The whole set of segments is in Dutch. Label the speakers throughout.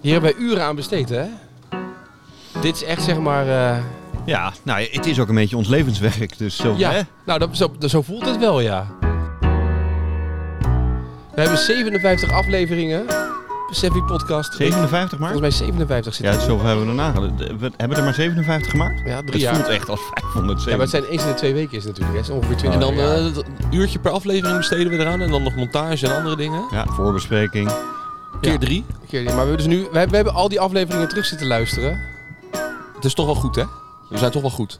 Speaker 1: Hier hebben wij uren aan besteed, hè? Dit is echt, zeg maar... eh,
Speaker 2: Ja, nou, ja, het is ook een beetje ons levenswerk, dus zo,
Speaker 1: ja,
Speaker 2: hè?
Speaker 1: nou, dat, zo, dat- zo voelt het wel, ja. We hebben 57 afleveringen. Pacific Podcast.
Speaker 2: 57 maar?
Speaker 1: Volgens mij 57 zit
Speaker 2: Ja, zoveel hebben we erna gedaan. We hebben we er maar 57 gemaakt?
Speaker 1: ja, drie
Speaker 2: Het
Speaker 1: jaar.
Speaker 2: voelt echt als 507.
Speaker 1: Ja, maar het zijn eens in de twee weken is het natuurlijk. hè. Het is ongeveer
Speaker 3: En
Speaker 1: 20
Speaker 2: Oh,
Speaker 3: dan
Speaker 1: jaar.
Speaker 3: eh, dat- een uurtje per aflevering besteden we eraan. En dan nog montage en andere dingen.
Speaker 2: Ja, voorbespreking.
Speaker 3: Keer
Speaker 1: Ja.
Speaker 3: drie.
Speaker 2: eh,
Speaker 1: Keer, maar we hebben dus nu, we hebben, we hebben al die afleveringen terug zitten luisteren.
Speaker 3: Het is toch wel goed, hè? We zijn toch wel goed.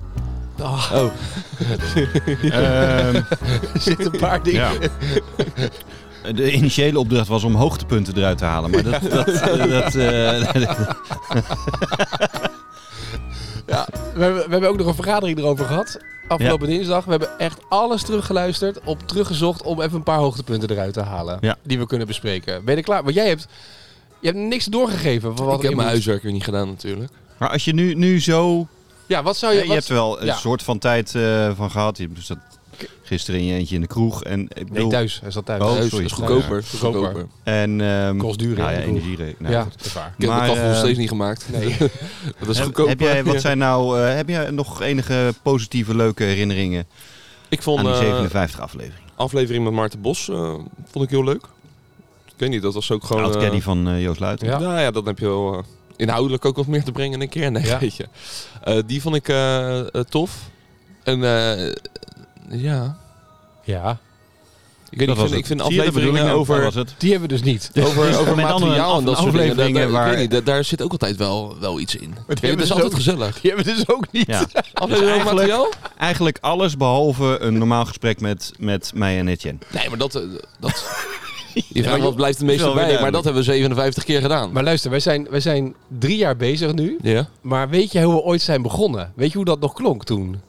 Speaker 1: Oh,
Speaker 2: Ehm,
Speaker 1: er zitten een paar dingen.
Speaker 2: ja. De initiële opdracht was om hoogtepunten eruit te halen, maar dat... dat, dat eh,
Speaker 1: We, hebben, we hebben ook nog een vergadering erover gehad. Afgelopen dinsdag. We hebben echt alles teruggeluisterd, op teruggezocht om even een paar hoogtepunten eruit te halen.
Speaker 2: Ja.
Speaker 1: Die we kunnen bespreken. Ben je er klaar? Want jij hebt, je hebt niks doorgegeven van wat
Speaker 3: ik heb
Speaker 1: erin
Speaker 3: mijn
Speaker 1: moet.
Speaker 3: huiswerk weer niet gedaan natuurlijk.
Speaker 2: maar als je nu, nu zo...
Speaker 1: Oh, Ja, wat zou
Speaker 2: Ja,
Speaker 1: je...
Speaker 2: je
Speaker 1: wat-
Speaker 2: hebt er wel een
Speaker 1: ja.
Speaker 2: soort van tijd eh, van gehad. Je zat gisteren in je eentje in de kroeg en... Ik
Speaker 1: Nee,
Speaker 2: bedoel,
Speaker 1: thuis. Hij zat thuis.
Speaker 2: Oh,
Speaker 3: Thuis,
Speaker 2: sorry.
Speaker 3: is goedkoper. is
Speaker 1: Goedkoper.
Speaker 3: goedkoper.
Speaker 2: En... ehm,
Speaker 1: Kost duur, hè,
Speaker 2: nou ja,
Speaker 1: de kroeg.
Speaker 2: energie. Nou,
Speaker 1: ja,
Speaker 2: goed.
Speaker 1: dat is waar.
Speaker 3: Ik heb
Speaker 2: Maar,
Speaker 3: de kachel nog
Speaker 2: eh,
Speaker 3: steeds niet gemaakt.
Speaker 1: Nee.
Speaker 3: Dat is
Speaker 2: Heb-
Speaker 3: goedkoper.
Speaker 2: Heb jij, wat
Speaker 3: Ja.
Speaker 2: zijn nou, eh, heb jij nog enige positieve, leuke herinneringen
Speaker 3: Ik vond
Speaker 2: aan die
Speaker 3: eh,
Speaker 2: 57 aflevering?
Speaker 3: aflevering met Maarten Bos eh, vond ik heel leuk. Ik weet niet, dat was ook gewoon...
Speaker 2: Oud
Speaker 3: eh,
Speaker 2: caddy van eh, Joost Luiten.
Speaker 1: Ja.
Speaker 3: Nou ja, dan heb je wel eh, inhoudelijk ook wat meer te brengen in een keer. Nee,
Speaker 1: Ja.
Speaker 3: weet je. Eh, die vond ik eh, eh, tof. En eh, ja,
Speaker 1: Ja.
Speaker 3: ik weet
Speaker 2: Dat
Speaker 3: niet,
Speaker 2: was
Speaker 3: ik
Speaker 2: het.
Speaker 3: vind, ik vind
Speaker 2: Zie je, dat bedoel
Speaker 3: afleveringen
Speaker 2: ik, nou,
Speaker 3: over...
Speaker 2: dat was het.
Speaker 1: Die hebben we dus niet.
Speaker 3: Over, over
Speaker 2: met andere
Speaker 3: materiaal en dat soort dingen. Daar,
Speaker 2: afleveringen
Speaker 3: daar-
Speaker 2: waar-
Speaker 3: ik weet niet, daar, daar zit ook altijd wel, wel iets in.
Speaker 1: hebben
Speaker 3: Het
Speaker 1: dus
Speaker 3: is altijd
Speaker 1: ook-
Speaker 3: gezellig.
Speaker 1: Die hebben we dus ook niet.
Speaker 2: Ja.
Speaker 3: Aflevering over
Speaker 2: eigenlijk-
Speaker 3: materiaal?
Speaker 2: Eigenlijk alles behalve een normaal gesprek met, met mij en Etienne.
Speaker 3: Nee, maar dat... eh, dat je
Speaker 2: maar
Speaker 3: vraagt
Speaker 2: je-
Speaker 3: wat blijft het meeste
Speaker 2: wel
Speaker 3: bij,
Speaker 2: weer
Speaker 3: maar dat
Speaker 2: duidelijk.
Speaker 3: hebben we 57 keer gedaan.
Speaker 1: Maar luister, wij zijn, wij zijn drie jaar bezig nu.
Speaker 3: ja,
Speaker 1: Maar weet je hoe we ooit zijn begonnen? Weet je hoe dat nog klonk toen?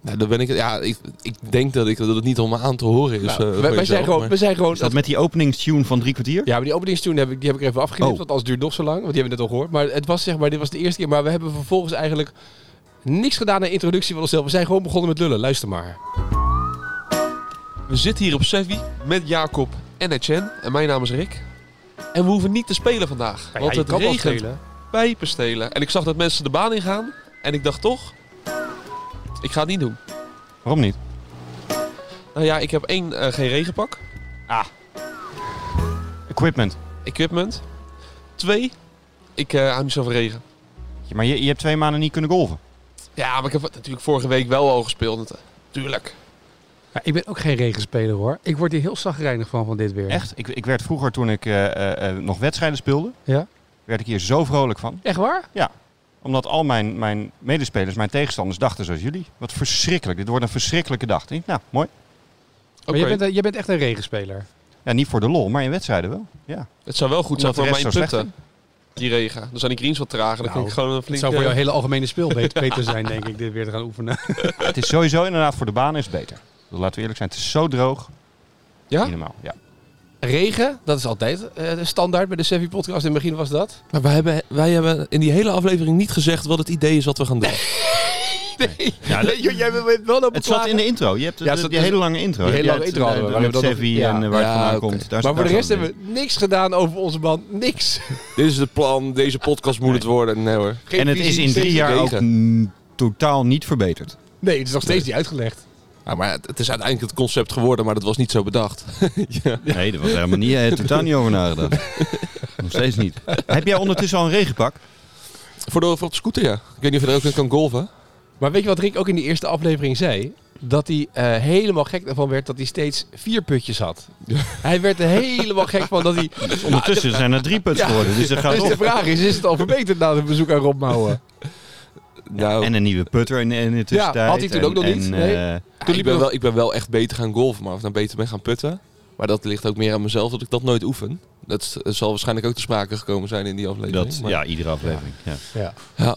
Speaker 3: nou, dan ben ik, ja ik, ik denk dat, ik, dat het niet om me aan te horen is.
Speaker 1: Nou,
Speaker 3: eh, voor
Speaker 1: wij- wij,
Speaker 3: jezelf,
Speaker 1: zijn gewoon,
Speaker 3: maar-
Speaker 1: wij zijn gewoon...
Speaker 2: Is dat met die openingstune van drie kwartier?
Speaker 1: Ja, maar die openingstune heb ik, die heb ik er even afgeknipt,
Speaker 2: Oh.
Speaker 1: want anders duurt het nog zo lang. Want die hebben we net al gehoord. Maar het was zeg maar, dit was de eerste keer. Maar we hebben vervolgens eigenlijk niks gedaan aan introductie van onszelf. We zijn gewoon begonnen met lullen. Luister maar.
Speaker 3: We zitten hier op Sevi met Jacob en Etienne. En mijn naam is Rick. En we hoeven niet te spelen vandaag. want het regent pijpen stelen. En ik zag dat mensen de baan ingaan. En ik dacht toch, ik ga het niet doen.
Speaker 2: Waarom niet?
Speaker 3: Nou ja, ik heb één, eh, geen regenpak.
Speaker 2: Equipment.
Speaker 3: Equipment. Twee, ik eh hou niet zo van regen.
Speaker 2: Ja, Maar je, je hebt twee maanden niet kunnen golven.
Speaker 3: Ja, maar ik heb natuurlijk vorige week wel al gespeeld. eh, Tuurlijk.
Speaker 1: Ja, ik ben ook geen regenspeler hoor. Ik word hier heel zagrijnig van, van dit weer.
Speaker 2: Echt? Ik, ik werd vroeger, toen ik eh, eh, eh, nog wedstrijden speelde,
Speaker 1: Ja.
Speaker 2: werd ik hier zo vrolijk van.
Speaker 1: Echt waar?
Speaker 2: Omdat al mijn, mijn medespelers, mijn tegenstanders dachten zoals jullie. Wat verschrikkelijk. Dit wordt een verschrikkelijke dag. Ik denk, Nou, mooi.
Speaker 1: Maar
Speaker 3: Oké.
Speaker 1: jij, bent, eh, jij bent echt een regenspeler.
Speaker 2: Ja, niet voor de lol, maar in wedstrijden wel. Ja.
Speaker 3: Het zou wel goed zijn
Speaker 2: Omdat
Speaker 3: voor
Speaker 2: de rest
Speaker 3: mijn
Speaker 2: zo slecht
Speaker 3: punten. Die regen. Dan zijn die greens wat trager. Dan
Speaker 1: Nou,
Speaker 3: vind ik gewoon een eh,
Speaker 1: Het
Speaker 3: flinke...
Speaker 1: zou voor
Speaker 2: eh,
Speaker 1: jouw hele algemene speel beter, beter zijn, denk ik, dit weer te gaan oefenen.
Speaker 2: het is sowieso inderdaad voor de baan is het beter. Ik bedoel, Laten we eerlijk zijn, het is zo droog.
Speaker 3: Ja?
Speaker 2: Niet normaal. Ja.
Speaker 1: Regen, dat is altijd eh, standaard bij de Sevi podcast. In het begin was dat.
Speaker 3: Maar wij hebben, wij hebben in die hele aflevering niet gezegd wat het idee is wat we gaan doen.
Speaker 2: Ja,
Speaker 1: Nee, joh, jij bent wel op
Speaker 2: Het zat in de intro. Je hebt
Speaker 1: Ja,
Speaker 2: ja,
Speaker 1: het zat-
Speaker 2: die hele lange intro.
Speaker 1: die hele
Speaker 2: Ja,
Speaker 1: lange
Speaker 2: het-
Speaker 1: intro hadden we,
Speaker 2: eh,
Speaker 1: waar we
Speaker 2: Met
Speaker 1: dat nog-
Speaker 2: Sevi
Speaker 1: ja.
Speaker 2: en eh, waar het
Speaker 3: Ja,
Speaker 2: vandaan
Speaker 3: oké.
Speaker 2: komt. Daar-
Speaker 1: Maar voor de
Speaker 2: daar
Speaker 1: rest
Speaker 2: zat
Speaker 1: hebben we niks gedaan over onze man. Niks.
Speaker 3: Dit is het plan, deze podcast moet het worden. Nee hoor.
Speaker 2: het. En het is in drie jaar ook mm, totaal niet verbeterd.
Speaker 1: Nee, het is nog steeds niet uitgelegd.
Speaker 3: Nou, maar het, het is uiteindelijk het concept geworden, maar dat was niet zo bedacht. ja.
Speaker 2: Nee, daar was helemaal niet, eh, totaal niet over nagedacht. Nog steeds niet. Heb jij ondertussen al een regenpak?
Speaker 3: voor, de, voor op de scooter, ja. Ik weet niet of je er ook in kan golven.
Speaker 1: Maar weet je wat Rick ook in die eerste aflevering zei? Dat hij eh, helemaal gek ervan werd dat hij steeds vier putjes had. Hij werd er helemaal gek van dat hij...
Speaker 2: Ondertussen zijn er drie puts
Speaker 1: Ja.
Speaker 2: geworden, dus dat gaat
Speaker 1: Dus de
Speaker 2: op.
Speaker 1: vraag is, is het al verbeterd na het bezoek aan Rob Mouwen?
Speaker 3: Nou,
Speaker 2: En een nieuwe putter in, in de tussentijd.
Speaker 1: had hij toen ook nog
Speaker 2: en-
Speaker 1: niet?
Speaker 2: en,
Speaker 1: Nee.
Speaker 2: eh,
Speaker 3: ja, ik, ben wel, ik ben wel echt beter gaan golven, maar of ik nou beter ben gaan putten. Maar dat ligt ook meer aan mezelf, dat ik dat nooit oefen. Dat s- zal waarschijnlijk ook te sprake gekomen zijn in die aflevering.
Speaker 2: dat,
Speaker 3: maar-
Speaker 2: ja, iedere aflevering. Ja.
Speaker 1: Ja.
Speaker 3: ja.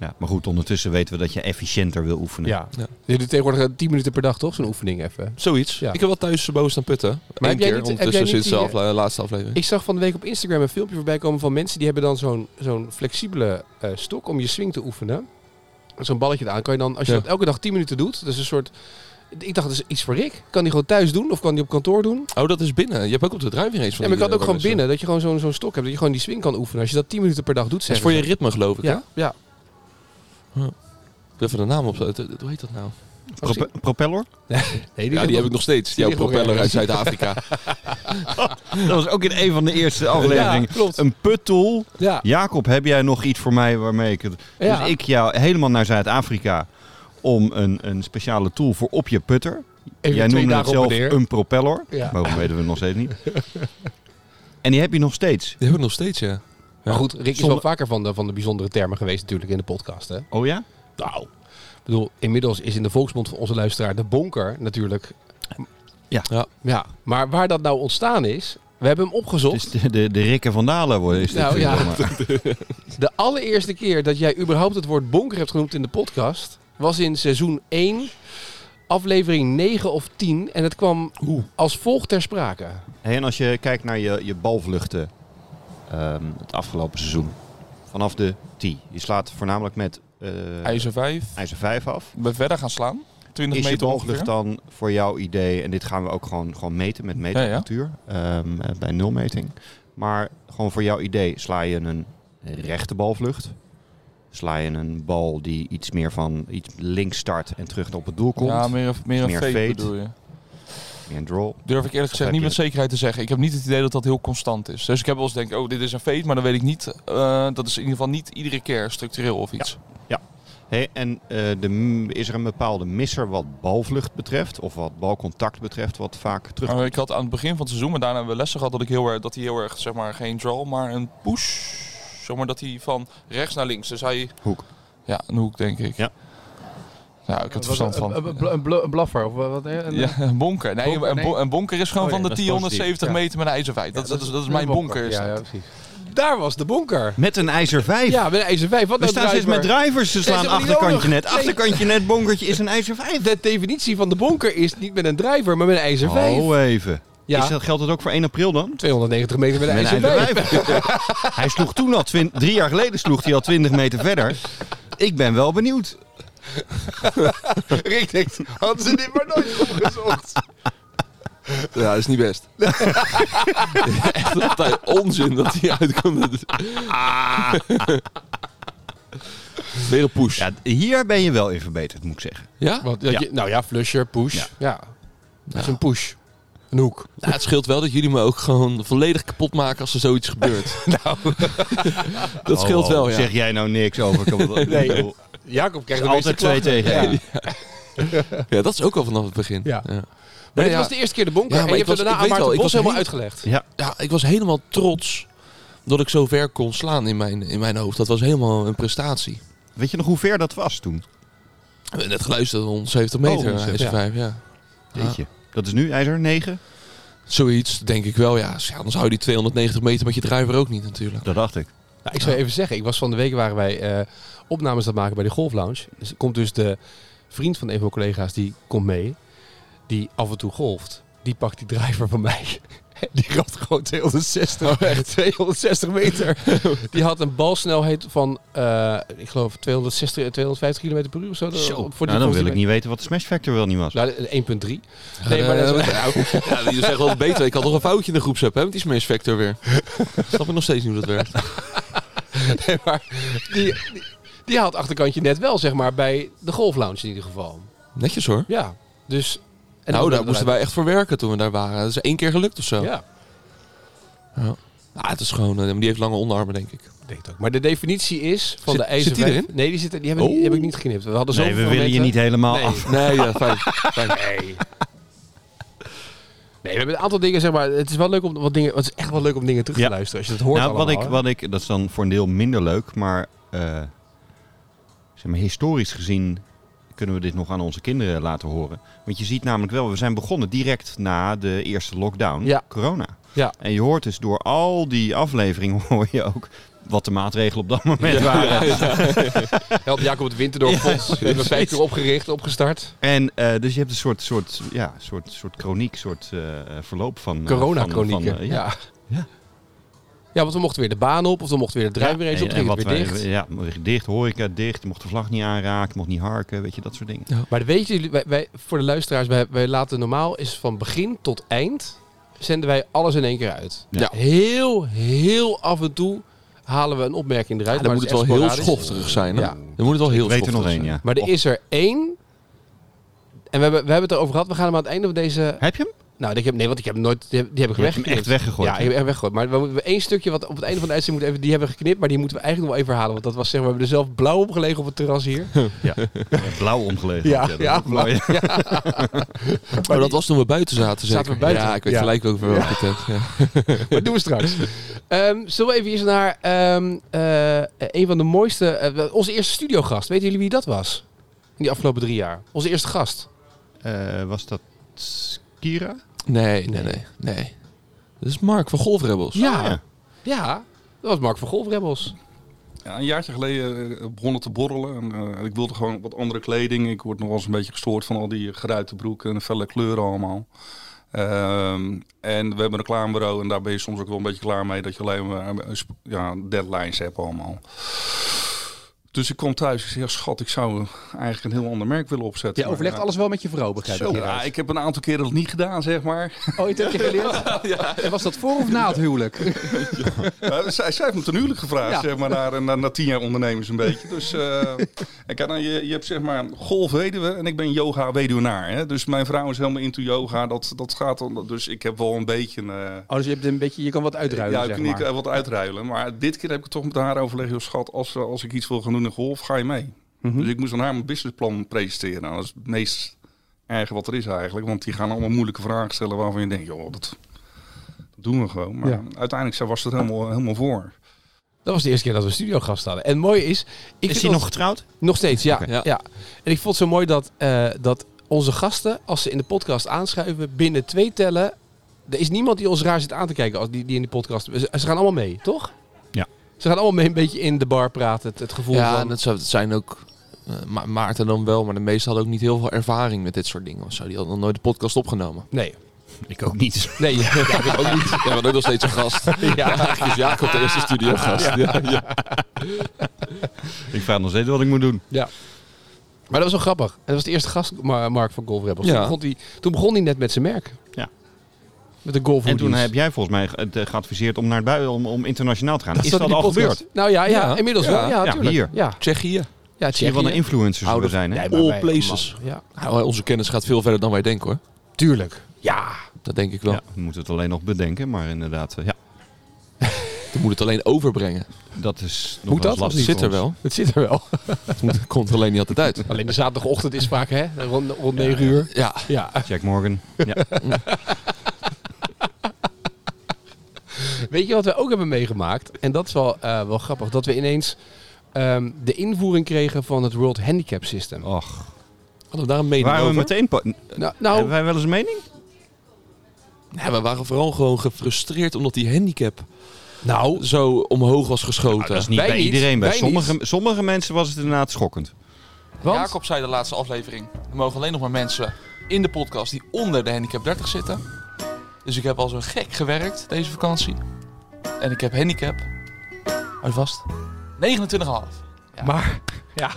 Speaker 2: Ja, maar goed, ondertussen weten we dat je efficiënter wil oefenen.
Speaker 1: ja.
Speaker 3: Ja.
Speaker 1: Je doet tegenwoordig eh, 10 minuten per dag toch, zo'n oefening even?
Speaker 3: Zoiets.
Speaker 1: Ja.
Speaker 3: Ik heb wel thuis boven staan putten. Maar
Speaker 1: heb jij niet-
Speaker 3: keer
Speaker 1: heb
Speaker 3: ondertussen
Speaker 1: jij niet
Speaker 3: sinds de
Speaker 1: die, eh,
Speaker 3: afle- laatste aflevering.
Speaker 1: Ik zag van de week op Instagram een filmpje voorbij komen van mensen die hebben dan zo'n zo'n flexibele eh, stok om je swing te oefenen. Zo'n balletje eraan kan je dan, als je
Speaker 3: Ja.
Speaker 1: dat elke dag 10 minuten doet, dus een soort Ik dacht, dat is iets voor Rick. Kan die gewoon thuis doen of kan die op kantoor doen?
Speaker 3: Oh, dat is binnen. Je hebt ook op de druiving eens van
Speaker 1: Ja, maar
Speaker 3: die,
Speaker 1: ik had ook
Speaker 3: eh,
Speaker 1: gewoon
Speaker 3: mensen.
Speaker 1: binnen. Dat je gewoon zo'n zo'n stok hebt. Dat je gewoon die swing kan oefenen. Als je dat 10 minuten per dag doet,
Speaker 3: Dat is
Speaker 1: zeg
Speaker 3: voor je ritme, geloof ik. hè?
Speaker 1: Ja, ja.
Speaker 3: Ik wil even de naam op. Hoe heet dat nou?
Speaker 1: Was die-
Speaker 2: Prope- propeller?
Speaker 1: Nee,
Speaker 3: ja, die heb ik nog steeds. Die
Speaker 1: die
Speaker 3: jouw
Speaker 1: ligt nog
Speaker 3: propeller
Speaker 1: ergens.
Speaker 3: uit Zuid-Afrika.
Speaker 2: Dat was ook in een van de eerste afleveringen.
Speaker 1: Ja, klopt.
Speaker 2: Een puttool.
Speaker 1: Ja.
Speaker 2: Jacob, heb jij nog iets voor mij waarmee ik het...
Speaker 3: eh,
Speaker 1: Ja.
Speaker 2: Dus ik jou helemaal naar Zuid-Afrika om een, een speciale tool voor op je putter.
Speaker 1: Even
Speaker 2: jij
Speaker 1: twee
Speaker 2: noemde het
Speaker 1: dagen op
Speaker 2: zelf
Speaker 1: en neer.
Speaker 2: een propeller.
Speaker 1: Ja.
Speaker 2: Waarom weten we nog steeds niet. En die heb je nog steeds.
Speaker 3: Die heb ik nog steeds, ja.
Speaker 1: Maar goed, Rick is
Speaker 2: Zonder-
Speaker 1: wel vaker van de, van de bijzondere termen geweest natuurlijk in de podcast. Hè?
Speaker 2: Oh ja?
Speaker 1: Nou, ik bedoel, inmiddels is in de volksmond van onze luisteraar de bonker natuurlijk.
Speaker 2: Ja.
Speaker 3: Ja.
Speaker 1: ja. Maar waar dat nou ontstaan is, we hebben hem opgezocht.
Speaker 2: Dus de, de, de Rikke van Dalen worden is dit.
Speaker 1: Nou,
Speaker 2: zeg
Speaker 1: ja.
Speaker 2: maar.
Speaker 1: De allereerste keer dat jij überhaupt het woord bonker hebt genoemd in de podcast was in seizoen 1, aflevering 9 of 10. En het kwam als volgt ter sprake.
Speaker 2: Hey, en als je kijkt naar je, je balvluchten ehm, het afgelopen seizoen. Vanaf de tee. Je slaat voornamelijk met eh,
Speaker 3: IJzer 5.
Speaker 2: ijzer 5 af.
Speaker 3: Ik ben verder gaan slaan. 20
Speaker 2: Is je
Speaker 3: meter
Speaker 2: balvlucht
Speaker 3: ongeveer.
Speaker 2: dan voor jouw idee, en dit gaan we ook gewoon, gewoon meten met meetapparatuur ehm, eh, bij nulmeting. Maar gewoon voor jouw idee sla je een rechte balvlucht. Sla je een bal die iets meer van iets links start en terug op het doel komt.
Speaker 4: Ja, meer, een- meer een
Speaker 2: Meer
Speaker 4: fake
Speaker 2: fade.
Speaker 4: bedoel je.
Speaker 2: Meer een draw.
Speaker 4: Durf ik eerlijk gezegd
Speaker 2: heb
Speaker 4: niet
Speaker 2: je-
Speaker 4: met zekerheid te zeggen. Ik heb niet het idee dat dat heel constant is. Dus ik heb wel eens denk, oh, dit is een fade, maar dan weet ik niet. eh, dat is in ieder geval niet iedere keer structureel of iets.
Speaker 2: Hey, en eh, de, m- is er een bepaalde misser wat balvlucht betreft, of wat balcontact betreft, wat vaak terug.
Speaker 4: Maar ik had aan het begin van het seizoen, maar daarna hebben we lessen gehad, dat ik heel erg, dat hij heel erg, zeg maar, geen draw, maar een push. Zomaar dat hij van rechts naar links. Dus hij.
Speaker 2: Hoek.
Speaker 4: Ja, een hoek denk ik.
Speaker 2: Ja.
Speaker 4: Ja, ik heb er verstand van.
Speaker 1: Een, bl- een bl- een blaffer of wat? hè? Een-
Speaker 4: Ja, een bonker. Nee,
Speaker 1: Bonker,
Speaker 4: een, bo-
Speaker 1: nee.
Speaker 4: een bonker is gewoon
Speaker 1: Oh ja,
Speaker 4: van de
Speaker 2: dat is
Speaker 4: 10, 170
Speaker 1: positief.
Speaker 4: meter met een ijzer vijf. Dat, dat, is, dat is
Speaker 1: een
Speaker 4: mijn bonker. is
Speaker 1: Ja,
Speaker 4: dat.
Speaker 1: ja, precies. Daar was de bonker.
Speaker 2: Met een ijzer 5.
Speaker 1: Ja, met een ijzer 5. Wat
Speaker 2: we
Speaker 1: nou
Speaker 2: staan steeds met
Speaker 1: driver?
Speaker 2: drivers, ze slaan
Speaker 1: helemaal niet
Speaker 2: achterkantje
Speaker 1: nodig.
Speaker 2: net.
Speaker 1: Nee.
Speaker 2: Achterkantje net, bonkertje is een ijzer 5.
Speaker 1: De definitie van de bonker is niet met een driver, maar met een ijzer 5.
Speaker 2: Oh, even.
Speaker 1: ja,
Speaker 2: Is dat, geldt dat ook voor 1 april dan?
Speaker 1: 290 meter met een ijzer 5.
Speaker 2: hij sloeg toen al, twin- drie jaar geleden sloeg hij al 20 meter verder. Ik ben wel benieuwd.
Speaker 1: Rick denkt, hadden ze dit maar nooit opgezocht.
Speaker 3: Ja, dat is niet best. Echt altijd onzin dat hij uitkomt. Ah. Weer een push.
Speaker 2: Ja, hier ben je wel in verbeterd, moet ik zeggen.
Speaker 3: Ja?
Speaker 1: Want, dat
Speaker 2: Ja.
Speaker 1: je, nou ja, flusher, push.
Speaker 2: Ja.
Speaker 1: Ja. Dat is een push. Een hoek.
Speaker 3: Ja, het scheelt wel dat jullie me ook gewoon volledig kapot maken als er zoiets gebeurt. Nou. dat scheelt
Speaker 2: Oh,
Speaker 3: wel, ja.
Speaker 2: Zeg jij nou niks over?
Speaker 1: Nee.
Speaker 2: nee,
Speaker 1: Jacob krijgt
Speaker 2: altijd twee tegen. één.
Speaker 3: Ja, dat is ook al vanaf het begin.
Speaker 1: Ja.
Speaker 3: ja.
Speaker 1: Maar
Speaker 3: Nee,
Speaker 1: dit
Speaker 3: ja,
Speaker 1: was de eerste keer de bonker.
Speaker 3: Ja,
Speaker 1: en
Speaker 3: maar
Speaker 1: je
Speaker 3: ik
Speaker 1: hebt er
Speaker 3: was-
Speaker 1: daarna
Speaker 3: ik
Speaker 1: aan
Speaker 3: weet
Speaker 1: Maarten
Speaker 3: wel, ik
Speaker 1: Bos
Speaker 3: was
Speaker 1: helemaal
Speaker 3: heel-
Speaker 1: uitgelegd.
Speaker 2: Ja.
Speaker 3: ja, ik was helemaal trots dat ik zo ver kon slaan in mijn, in mijn hoofd. Dat was helemaal een prestatie.
Speaker 2: Weet je nog hoe ver dat was toen?
Speaker 3: We hebben net geluisterd, 170 meter,
Speaker 2: Oh,
Speaker 3: oh,
Speaker 1: ja.
Speaker 3: vijf, ja.
Speaker 2: Weet je. Dat is nu ijzer 9?
Speaker 3: Zoiets, denk ik wel, ja. Ja, Anders hou je die 290 meter met je driver ook niet natuurlijk.
Speaker 2: Dat dacht ik.
Speaker 1: Nou, ik zou even zeggen, ik was van de week waren wij eh, opnames aan het maken bij de Golf Lounge. Dus er komt dus de vriend van een van mijn collega's, die komt mee. Die af en toe golft. Die pakt die driver van mij. En Die ramt gewoon 260, 260 meter. Die had een balsnelheid van, eh, ik geloof, 260, 250 km per uur of zo. Voor die
Speaker 2: nou, dan
Speaker 1: volgens
Speaker 2: wil
Speaker 1: mij-
Speaker 2: ik niet weten wat de smash factor wel niet was.
Speaker 1: Nou, de- de 1.3.
Speaker 3: Ja,
Speaker 1: Nee, maar dat is-
Speaker 3: nou, ja, die zegt wel beter. Ik had nog een foutje in de groepsapp, hè, met die smash factor weer. Snap ik nog steeds niet hoe dat werkt.
Speaker 1: Nee, maar die, die, die haalt achterkantje net wel, zeg maar, bij de Golf Lounge in ieder geval.
Speaker 3: Netjes hoor.
Speaker 1: Ja, dus... en
Speaker 3: nou,
Speaker 1: dan-
Speaker 3: daar moesten wij echt voor werken toen we daar waren. Dat is één keer gelukt of zo.
Speaker 1: Ja,
Speaker 3: Ah, het is gewoon, eh, maar die heeft lange onderarmen, denk ik.
Speaker 1: ik denk het ook. Maar de definitie is van
Speaker 3: Zit-
Speaker 1: de ijzer...
Speaker 3: zit die erin?
Speaker 1: Nee, die, zit, er- die, hebben, die
Speaker 3: Oh.
Speaker 1: heb ik niet geknipt. We hadden
Speaker 2: nee,
Speaker 1: zoveel
Speaker 2: we willen je
Speaker 1: momenten.
Speaker 2: niet helemaal
Speaker 1: Nee.
Speaker 2: af.
Speaker 3: Nee, ja, fijn. fijn.
Speaker 1: Nee. Nee, we hebben een aantal dingen, zeg maar. Het is wel leuk om wat dingen. Het is echt wel leuk om dingen terug te
Speaker 2: Ja.
Speaker 1: luisteren als je dat hoort.
Speaker 2: nou, wat
Speaker 1: allemaal,
Speaker 2: ik,
Speaker 1: hè.
Speaker 2: wat ik, dat is dan voor een deel minder leuk, maar, eh, zeg maar historisch gezien kunnen we dit nog aan onze kinderen laten horen. Want je ziet namelijk wel, we zijn begonnen direct na de eerste lockdown,
Speaker 1: Ja.
Speaker 2: corona.
Speaker 1: Ja.
Speaker 2: En je hoort dus door al die afleveringen hoor je ook wat de maatregelen op dat moment waren.
Speaker 1: Help Jacob het Winterdorp Fonds. we hebben vijf keer opgericht, opgestart.
Speaker 2: En eh, dus je hebt een soort, soort, ja, soort, soort chroniek, soort eh, verloop van... eh,
Speaker 1: corona
Speaker 2: van- van,
Speaker 1: chronieken
Speaker 2: eh,
Speaker 1: ja.
Speaker 2: ja.
Speaker 1: Ja, want we mochten weer de baan op, of we mochten weer de drijf weer eens op,
Speaker 2: en-
Speaker 1: toen ging
Speaker 2: en
Speaker 1: het weer
Speaker 2: wat
Speaker 1: dicht.
Speaker 2: wij- Ja, dicht, horeca dicht. Je mocht de vlag niet aanraken, je mocht niet harken, weet je, dat soort dingen.
Speaker 1: Maar weet je, wij, wij- voor de luisteraars, wij, wij laten normaal is van begin tot eind zenden wij alles in één keer uit.
Speaker 2: Ja.
Speaker 1: Heel, heel af en toe halen we een opmerking eruit.
Speaker 3: dan
Speaker 1: maar
Speaker 3: moet het
Speaker 1: is
Speaker 3: wel
Speaker 1: echt
Speaker 3: heel
Speaker 1: sporadisch.
Speaker 3: schofterig zijn. Hè? Oh.
Speaker 1: Ja.
Speaker 3: Dan moet het wel heel
Speaker 2: Ik weet er nog
Speaker 3: schofterig
Speaker 2: één,
Speaker 3: zijn.
Speaker 2: ja.
Speaker 1: Maar er is er één. En we hebben, we hebben het erover gehad. We gaan hem aan het einde van deze.
Speaker 2: Heb je hem?
Speaker 1: Nou, ik heb, nee, want ik heb hem nooit. Die heb, die heb ik
Speaker 2: Je hebt hem
Speaker 1: weggeknipt.
Speaker 2: echt weggegooid.
Speaker 1: Ja, ik heb hem echt weggegooid. Maar we hebben één stukje wat op het einde van de uitzending moet even. Die hebben we geknipt, maar die moeten we eigenlijk nog wel even halen. Want dat was zeg maar. We hebben er zelf blauw op gelegen op het terras hier.
Speaker 2: Blauw omgelegen.
Speaker 1: Ja,
Speaker 2: had je dat.
Speaker 1: ja, blauw.
Speaker 2: Mooi.
Speaker 3: Oh, dat was toen we buiten zaten, zeker?
Speaker 1: Zaten we buiten?
Speaker 3: Ja, ik weet
Speaker 1: Ja.
Speaker 3: gelijk over welke het hebt. Ja.
Speaker 1: Dat doen we straks. Ehm, zullen we even eens naar ehm, eh, een van de mooiste. eh, onze eerste studiogast. Weten jullie wie dat was? In die afgelopen drie jaar. Onze eerste gast.
Speaker 2: Eh, was dat Kira?
Speaker 3: Nee, nee, nee, nee. Dat is Mark van Golfrebels.
Speaker 1: Ja.
Speaker 2: Ah, ja.
Speaker 1: ja. Dat was Mark van Golfrebels.
Speaker 5: Ja, een jaartje geleden eh, begon het te borrelen. En, eh, ik wilde gewoon wat andere kleding. Ik word nog wel eens een beetje gestoord van al die geruite broeken en felle kleuren allemaal. Ehm, en we hebben een reclamebureau en daar ben je soms ook wel een beetje klaar mee dat je alleen maar eh, sp- ja, deadlines hebt allemaal. Dus ik kom thuis en ik zeg, ja, schat, ik zou eigenlijk een heel ander merk willen opzetten.
Speaker 1: Je overlegt
Speaker 5: Maar,
Speaker 1: alles wel met je vrouw, begrijp
Speaker 5: ja,
Speaker 1: ik.
Speaker 5: zo, ja, ik heb een aantal keren dat niet gedaan, zeg maar.
Speaker 1: Ooit heb je geleerd? En was dat voor of na het huwelijk?
Speaker 5: Ja, Eh, zij, zij heeft me ten huwelijk gevraagd,
Speaker 1: Ja.
Speaker 5: zeg maar, na, na, na tien jaar ondernemers een beetje. Dus, eh, en kijk, nou, je, je hebt zeg maar golfweduwe en ik ben yoga-weduwnaar. Hè? Dus mijn vrouw is helemaal into yoga, dat, dat gaat dan. Dus ik heb wel een beetje... eh,
Speaker 1: Oh, dus je, hebt een beetje, je kan wat uitruilen,
Speaker 5: ja, ik
Speaker 1: zeg
Speaker 5: kan niet
Speaker 1: maar.
Speaker 5: eh, wat uitruilen. Maar dit keer heb ik het toch met haar overlegd. Joh, schat, als, we- als ik iets wil gaan doen in golf, ga je mee.
Speaker 1: Mhm.
Speaker 5: Dus ik moest aan haar mijn businessplan presenteren. Nou, dat is het meest erge wat er is eigenlijk. Want die gaan allemaal moeilijke vragen stellen waarvan je denkt... joh, dat, dat doen we gewoon. Maar
Speaker 1: Ja.
Speaker 5: uiteindelijk zij was het helemaal, helemaal voor.
Speaker 1: Dat was de eerste keer dat we een studiogast hadden. En mooi is... Ik vind
Speaker 2: Is hij
Speaker 1: dat-
Speaker 2: nog getrouwd?
Speaker 1: Nog steeds, ja.
Speaker 2: Oké.
Speaker 1: ja. ja. En ik vond het zo mooi dat, eh, dat onze gasten, als ze in de podcast aanschuiven, binnen twee tellen... Er is niemand die ons raar zit aan te kijken als die, die in die podcast... Ze, ze gaan allemaal mee, toch?
Speaker 2: Ja.
Speaker 1: Ze gaan allemaal mee een beetje in de bar praten. Het, het gevoel
Speaker 3: Ja,
Speaker 1: van...
Speaker 3: en dat zou- het zijn ook eh, Ma- Maarten dan wel, maar de meesten hadden ook niet heel veel ervaring met dit soort dingen. Of zo. Die hadden nog nooit de podcast opgenomen.
Speaker 1: Nee.
Speaker 2: Ik ook niet.
Speaker 1: Nee, ja, ik ook niet.
Speaker 3: Ja, maar ook nog steeds een gast.
Speaker 1: Ja.
Speaker 3: Eigenlijk is Jacob de eerste studiogast. Ja.
Speaker 2: Ik vraag nog steeds wat ik moet doen.
Speaker 1: Maar dat was wel grappig. En dat was de eerste gast, Ma- Mark van Golf Rebels.
Speaker 3: Ja.
Speaker 1: Toen, begon die, toen begon hij net met zijn merk.
Speaker 2: Ja.
Speaker 1: Met de Golf
Speaker 2: En toen
Speaker 1: Hoodies.
Speaker 2: heb jij volgens mij het, eh, geadviseerd om naar het buiten, om, om internationaal te gaan. is
Speaker 1: Zat
Speaker 2: dat
Speaker 1: in die
Speaker 2: al
Speaker 1: podcast?
Speaker 2: gebeurd?
Speaker 1: Nou ja, ja,
Speaker 3: Ja.
Speaker 1: inmiddels wel. Ja,
Speaker 2: Ja,
Speaker 1: tuurlijk.
Speaker 2: hier.
Speaker 1: Ja,
Speaker 3: Tsjechië.
Speaker 1: ja
Speaker 2: Zie je wat een
Speaker 1: Tsjechië.
Speaker 2: influencer zullen we
Speaker 3: Oude-
Speaker 2: zijn, hè?
Speaker 1: Nee, maar
Speaker 3: All
Speaker 1: wij-
Speaker 3: places.
Speaker 1: man, Ja,
Speaker 3: Nou, onze kennis gaat veel verder dan wij denken hoor.
Speaker 1: tuurlijk. Ja.
Speaker 3: Dat denk ik wel.
Speaker 2: Ja, we moeten het alleen nog bedenken, maar inderdaad, eh, ja,
Speaker 3: Je moet het alleen overbrengen.
Speaker 2: dat is nog
Speaker 1: Moet
Speaker 2: wel
Speaker 1: dat?
Speaker 2: eens
Speaker 3: Dat
Speaker 2: lastig
Speaker 3: zit
Speaker 2: voor
Speaker 3: er
Speaker 2: ons.
Speaker 3: wel.
Speaker 1: Het zit er wel.
Speaker 3: Het moet- komt er alleen niet altijd uit.
Speaker 1: Alleen de zaterdagochtend is vaak, hè? Rond, rond 9 uur.
Speaker 3: Ja,
Speaker 1: Ja.
Speaker 2: Jack Morgan. Ja.
Speaker 1: Weet je wat we ook hebben meegemaakt? En dat is wel, eh, wel grappig. Dat we ineens ehm, de invoering kregen van het World Handicap System.
Speaker 2: Och.
Speaker 3: hadden we daar een mening
Speaker 2: Waren we
Speaker 3: over?
Speaker 2: meteen... pa-
Speaker 1: Nou,
Speaker 2: Hebben
Speaker 1: nou
Speaker 2: wij wel eens een mening?
Speaker 3: Ja, we waren vooral gewoon gefrustreerd omdat die handicap
Speaker 1: nou,
Speaker 3: zo omhoog was geschoten.
Speaker 2: dat is niet
Speaker 1: wij
Speaker 2: bij
Speaker 1: niet,
Speaker 2: iedereen. Bij
Speaker 1: wij
Speaker 2: sommige, sommige mensen was het inderdaad schokkend.
Speaker 1: Want?
Speaker 4: Jacob zei de laatste aflevering. Er mogen alleen nog maar mensen in de podcast die onder de handicap 30 zitten. Dus ik heb al zo gek gewerkt deze vakantie. En ik heb handicap. Hou je vast. 29,5.
Speaker 6: Maar ja,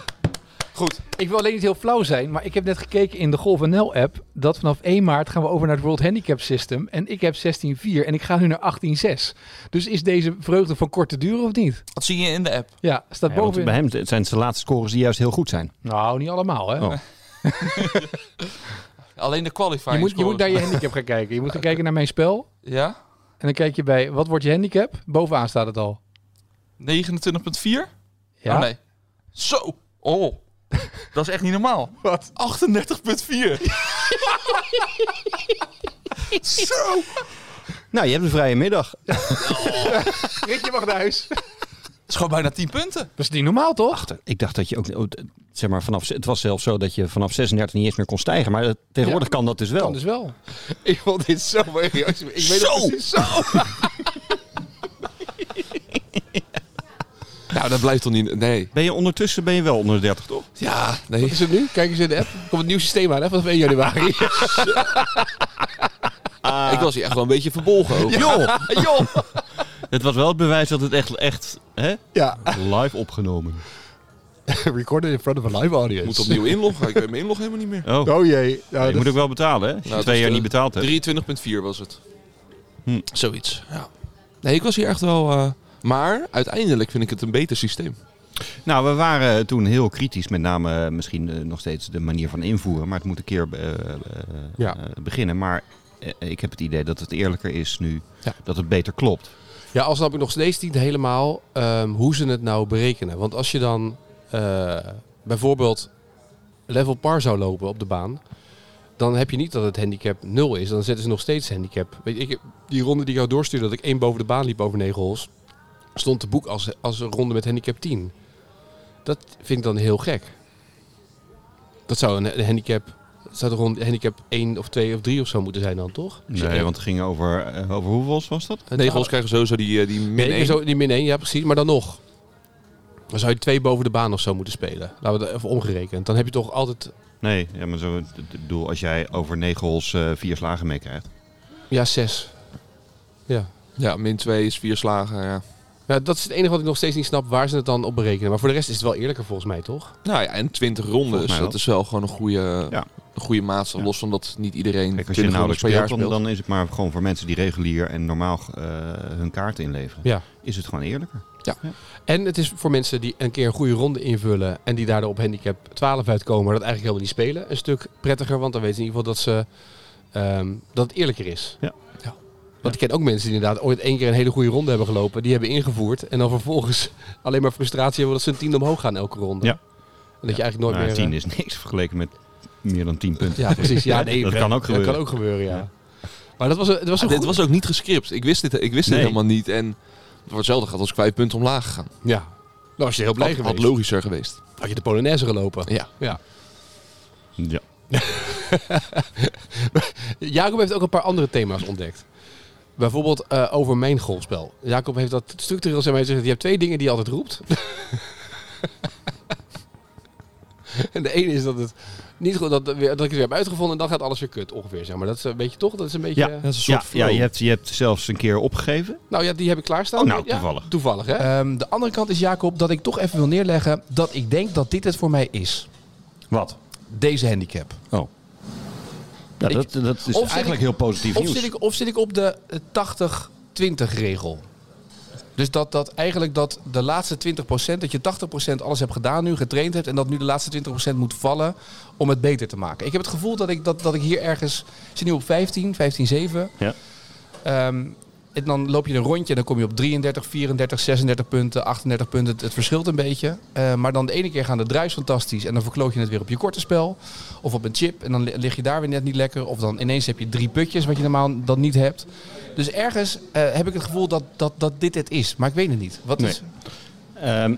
Speaker 4: Goed.
Speaker 6: ik wil alleen niet heel flauw zijn, maar ik heb net gekeken in de Golf NL app dat vanaf 1 maart gaan we over naar het World Handicap System en ik heb 16.4 en ik ga nu naar 18.6. Dus is deze vreugde van korte duur of niet?
Speaker 4: Dat zie je in de app.
Speaker 6: Ja, staat
Speaker 2: Ja, want
Speaker 6: bovenin.
Speaker 2: bij hem zijn het zijn laatste scores die juist heel goed zijn.
Speaker 6: Nou, niet allemaal hè.
Speaker 2: Oh.
Speaker 4: Alleen de qualifying
Speaker 6: Je moet, je
Speaker 4: scores.
Speaker 6: moet naar je handicap gaan kijken. Je moet gaan kijken naar mijn spel
Speaker 4: Ja?
Speaker 6: en dan kijk je bij wat wordt je handicap? Bovenaan staat het al.
Speaker 4: 29,4?
Speaker 6: Ja.
Speaker 4: Oh, nee. Zo. Oh. Dat is echt niet normaal. Wat? 38,4. Zo.
Speaker 2: Nou, je hebt een vrije middag.
Speaker 6: Rick, je mag naar huis. Dat
Speaker 4: Dat is gewoon bijna 10 punten.
Speaker 6: is niet normaal toch?
Speaker 2: Ik dacht dat je ook... oh, d- Zeg maar, vanaf, het was zelfs zo dat je vanaf 36 niet eens meer kon stijgen. Maar eh, tegenwoordig kan dat dus wel.
Speaker 6: Kan dus wel.
Speaker 1: ik vond dit
Speaker 5: eh,
Speaker 1: zo mooi. Ik weet
Speaker 4: Zo!
Speaker 1: Het precies zo.
Speaker 3: Nou, dat blijft toch niet... Nee.
Speaker 2: Ben je ondertussen ben je wel onder de 30, toch?
Speaker 3: Ja, nee.
Speaker 1: Is het nu? Kijk eens in de app. Komt het nieuw systeem aan, hè? Vanaf 1 januari.
Speaker 4: Ah.
Speaker 3: ik was hier echt wel een beetje verbolgen over.
Speaker 2: Joh!
Speaker 7: Het was wel het bewijs dat het echt, echt hè,
Speaker 1: Ja,
Speaker 2: Ah.
Speaker 7: live opgenomen. Oh,
Speaker 1: recorded in front of a live audience.
Speaker 3: Moet opnieuw inloggen. Ik weet mijn inlog helemaal niet meer.
Speaker 7: Oh,
Speaker 1: Oh jee.
Speaker 7: je
Speaker 1: Nou, dat-
Speaker 7: moet ook wel betalen, hè? Als je
Speaker 3: Nou,
Speaker 7: twee
Speaker 3: dat
Speaker 7: jaar
Speaker 3: is
Speaker 7: niet
Speaker 3: de
Speaker 7: betaald hebt.
Speaker 3: 23.4 was het.
Speaker 7: Hm.
Speaker 3: Zoiets, ja. Nee, ik was hier echt wel... eh, maar uiteindelijk vind ik het een beter systeem.
Speaker 2: Nou, we waren toen heel kritisch, met name eh, misschien eh, nog steeds de manier van invoeren. Maar het moet een keer eh, eh,
Speaker 1: Ja.
Speaker 2: eh, beginnen. Maar eh, ik heb het idee dat het eerlijker is nu,
Speaker 1: Ja.
Speaker 2: dat het beter klopt.
Speaker 1: Ja, al snap ik nog steeds niet helemaal ehm, hoe ze het nou berekenen. Want als je dan eh, bijvoorbeeld level par zou lopen op de baan, dan heb je niet dat het handicap 0 is. Dan zetten ze nog steeds handicap. Weet je, ik, heb- die ronde die ik jou doorstuurde, dat ik één boven de baan liep over negen holes, stond te boek als, als een ronde met handicap 10. Dat vind ik dan heel gek. Dat zou een, een handicap, dat zou toch een handicap 1 of 2 of 3 of zo moeten zijn dan, toch?
Speaker 2: Nee, want het ging over, eh, over hoeveel was dat?
Speaker 1: Het-
Speaker 3: Negels krijgen sowieso die, eh, die min
Speaker 1: Min
Speaker 3: één.
Speaker 1: Zo, die min 1, ja precies. Maar dan nog. Dan zou je twee boven de baan of zo moeten spelen. Laten we dat even omgerekend. Dan heb je toch altijd...
Speaker 2: Nee, ja, maar zo, ik bedoel, als jij over negen hols eh, vier slagen meekrijgt.
Speaker 1: Ja, zes. Ja.
Speaker 3: Ja, min 2 is vier slagen, ja.
Speaker 1: ja. Dat is het enige wat ik nog steeds niet snap. Waar ze het dan op berekenen. Maar voor de rest is het wel eerlijker volgens mij, toch?
Speaker 3: Nou ja, en 20
Speaker 2: Volgens
Speaker 3: rondes.
Speaker 2: mij
Speaker 3: Dat
Speaker 2: wel.
Speaker 3: is wel gewoon een goede,
Speaker 2: Ja.
Speaker 3: een goede maatstaf.
Speaker 2: Ja.
Speaker 3: Los van dat niet iedereen
Speaker 2: Kijk, als je
Speaker 3: 20 rondes
Speaker 2: nauwelijks
Speaker 3: per jaar
Speaker 2: speelt,
Speaker 3: speelt.
Speaker 2: dan, dan is het maar gewoon voor mensen die regulier en normaal eh, hun kaart inleveren.
Speaker 1: Ja.
Speaker 2: Is het gewoon eerlijker.
Speaker 1: En het is voor mensen die een keer een goede ronde invullen. En die daardoor op handicap 12 uitkomen. Maar dat eigenlijk helemaal niet spelen. Een stuk prettiger. Want dan weten ze in ieder geval dat, ze, ehm, dat het eerlijker is.
Speaker 2: Ja.
Speaker 1: Want ik ken ook mensen die inderdaad ooit één keer een hele goede ronde hebben gelopen. Die hebben ingevoerd. En dan vervolgens alleen maar frustratie hebben dat ze een tiende omhoog gaan elke ronde.
Speaker 2: Ja. Nou,
Speaker 1: En dat je eigenlijk nooit
Speaker 2: Maar
Speaker 1: meer... eh,
Speaker 2: tien is niks vergeleken met meer dan tien punten.
Speaker 1: Ja, precies. Ja, nee,
Speaker 2: dat kan ook gebeuren.
Speaker 1: Dat kan ook gebeuren, ja.
Speaker 2: Ja.
Speaker 1: Maar dat was, een- het was een
Speaker 3: Ah, dit
Speaker 1: goed-
Speaker 3: was ook niet gescript. Ik wist dit, ik wist
Speaker 2: Nee.
Speaker 3: dit helemaal niet. En voor hetzelfde gaat als ik vijf punten omlaag gegaan.
Speaker 1: Ja. Nou, was je heel blij
Speaker 3: Had, had
Speaker 1: geweest.
Speaker 3: logischer geweest.
Speaker 1: Had je de Polonaise gelopen.
Speaker 3: Ja.
Speaker 2: Ja.
Speaker 1: Jacob heeft ook een paar andere thema's ontdekt. Bijvoorbeeld eh, over mijn golfspel. Jacob heeft dat structureel zijn mij gezegd. Je hebt twee dingen die je altijd roept. en de ene is dat het niet goed dat, dat ik het weer heb uitgevonden en dan gaat alles weer kut ongeveer. Zeg maar dat is een beetje toch? Dat is een beetje.
Speaker 2: Ja.
Speaker 1: eh,
Speaker 3: Dat is een
Speaker 2: Ja, ja je, hebt, je hebt zelfs een keer opgegeven.
Speaker 1: Nou ja, die heb ik klaarstaan.
Speaker 2: Oh, nou,
Speaker 1: Ja,
Speaker 2: toevallig.
Speaker 1: toevallig, hè?
Speaker 8: Ehm, de andere kant is, Jacob, dat ik toch even wil neerleggen dat ik denk dat dit het voor mij is.
Speaker 7: Wat?
Speaker 8: Deze handicap.
Speaker 7: Ja,
Speaker 8: Ik-
Speaker 7: dat, dat is
Speaker 8: zit
Speaker 7: eigenlijk
Speaker 8: ik-
Speaker 7: heel positief
Speaker 8: Of
Speaker 7: nieuws.
Speaker 8: zit ik, of zit ik op de eh, 80-20 regel? Dus dat, dat eigenlijk dat de laatste 20%, dat je 80% alles hebt gedaan nu, getraind hebt... en dat nu de laatste 20% moet vallen om het beter te maken. Ik heb het gevoel dat ik, dat, dat ik hier ergens... Ik zit nu op 15, 15, 7.
Speaker 7: Ja.
Speaker 8: Ehm, en dan loop je een rondje en dan kom je op 33, 34, 36 punten, 38 punten. Het, het verschilt een beetje. Eh, maar dan de ene keer gaan de druis fantastisch en dan verkloot je het weer op je korte spel. Of op een chip en dan li- lig je daar weer net niet lekker. Of dan ineens heb je drie putjes wat je normaal dan niet hebt. Dus ergens eh, heb ik het gevoel dat, dat, dat dit het is. Maar ik weet het niet. Wat
Speaker 7: Nee.
Speaker 8: is...
Speaker 7: Ehm,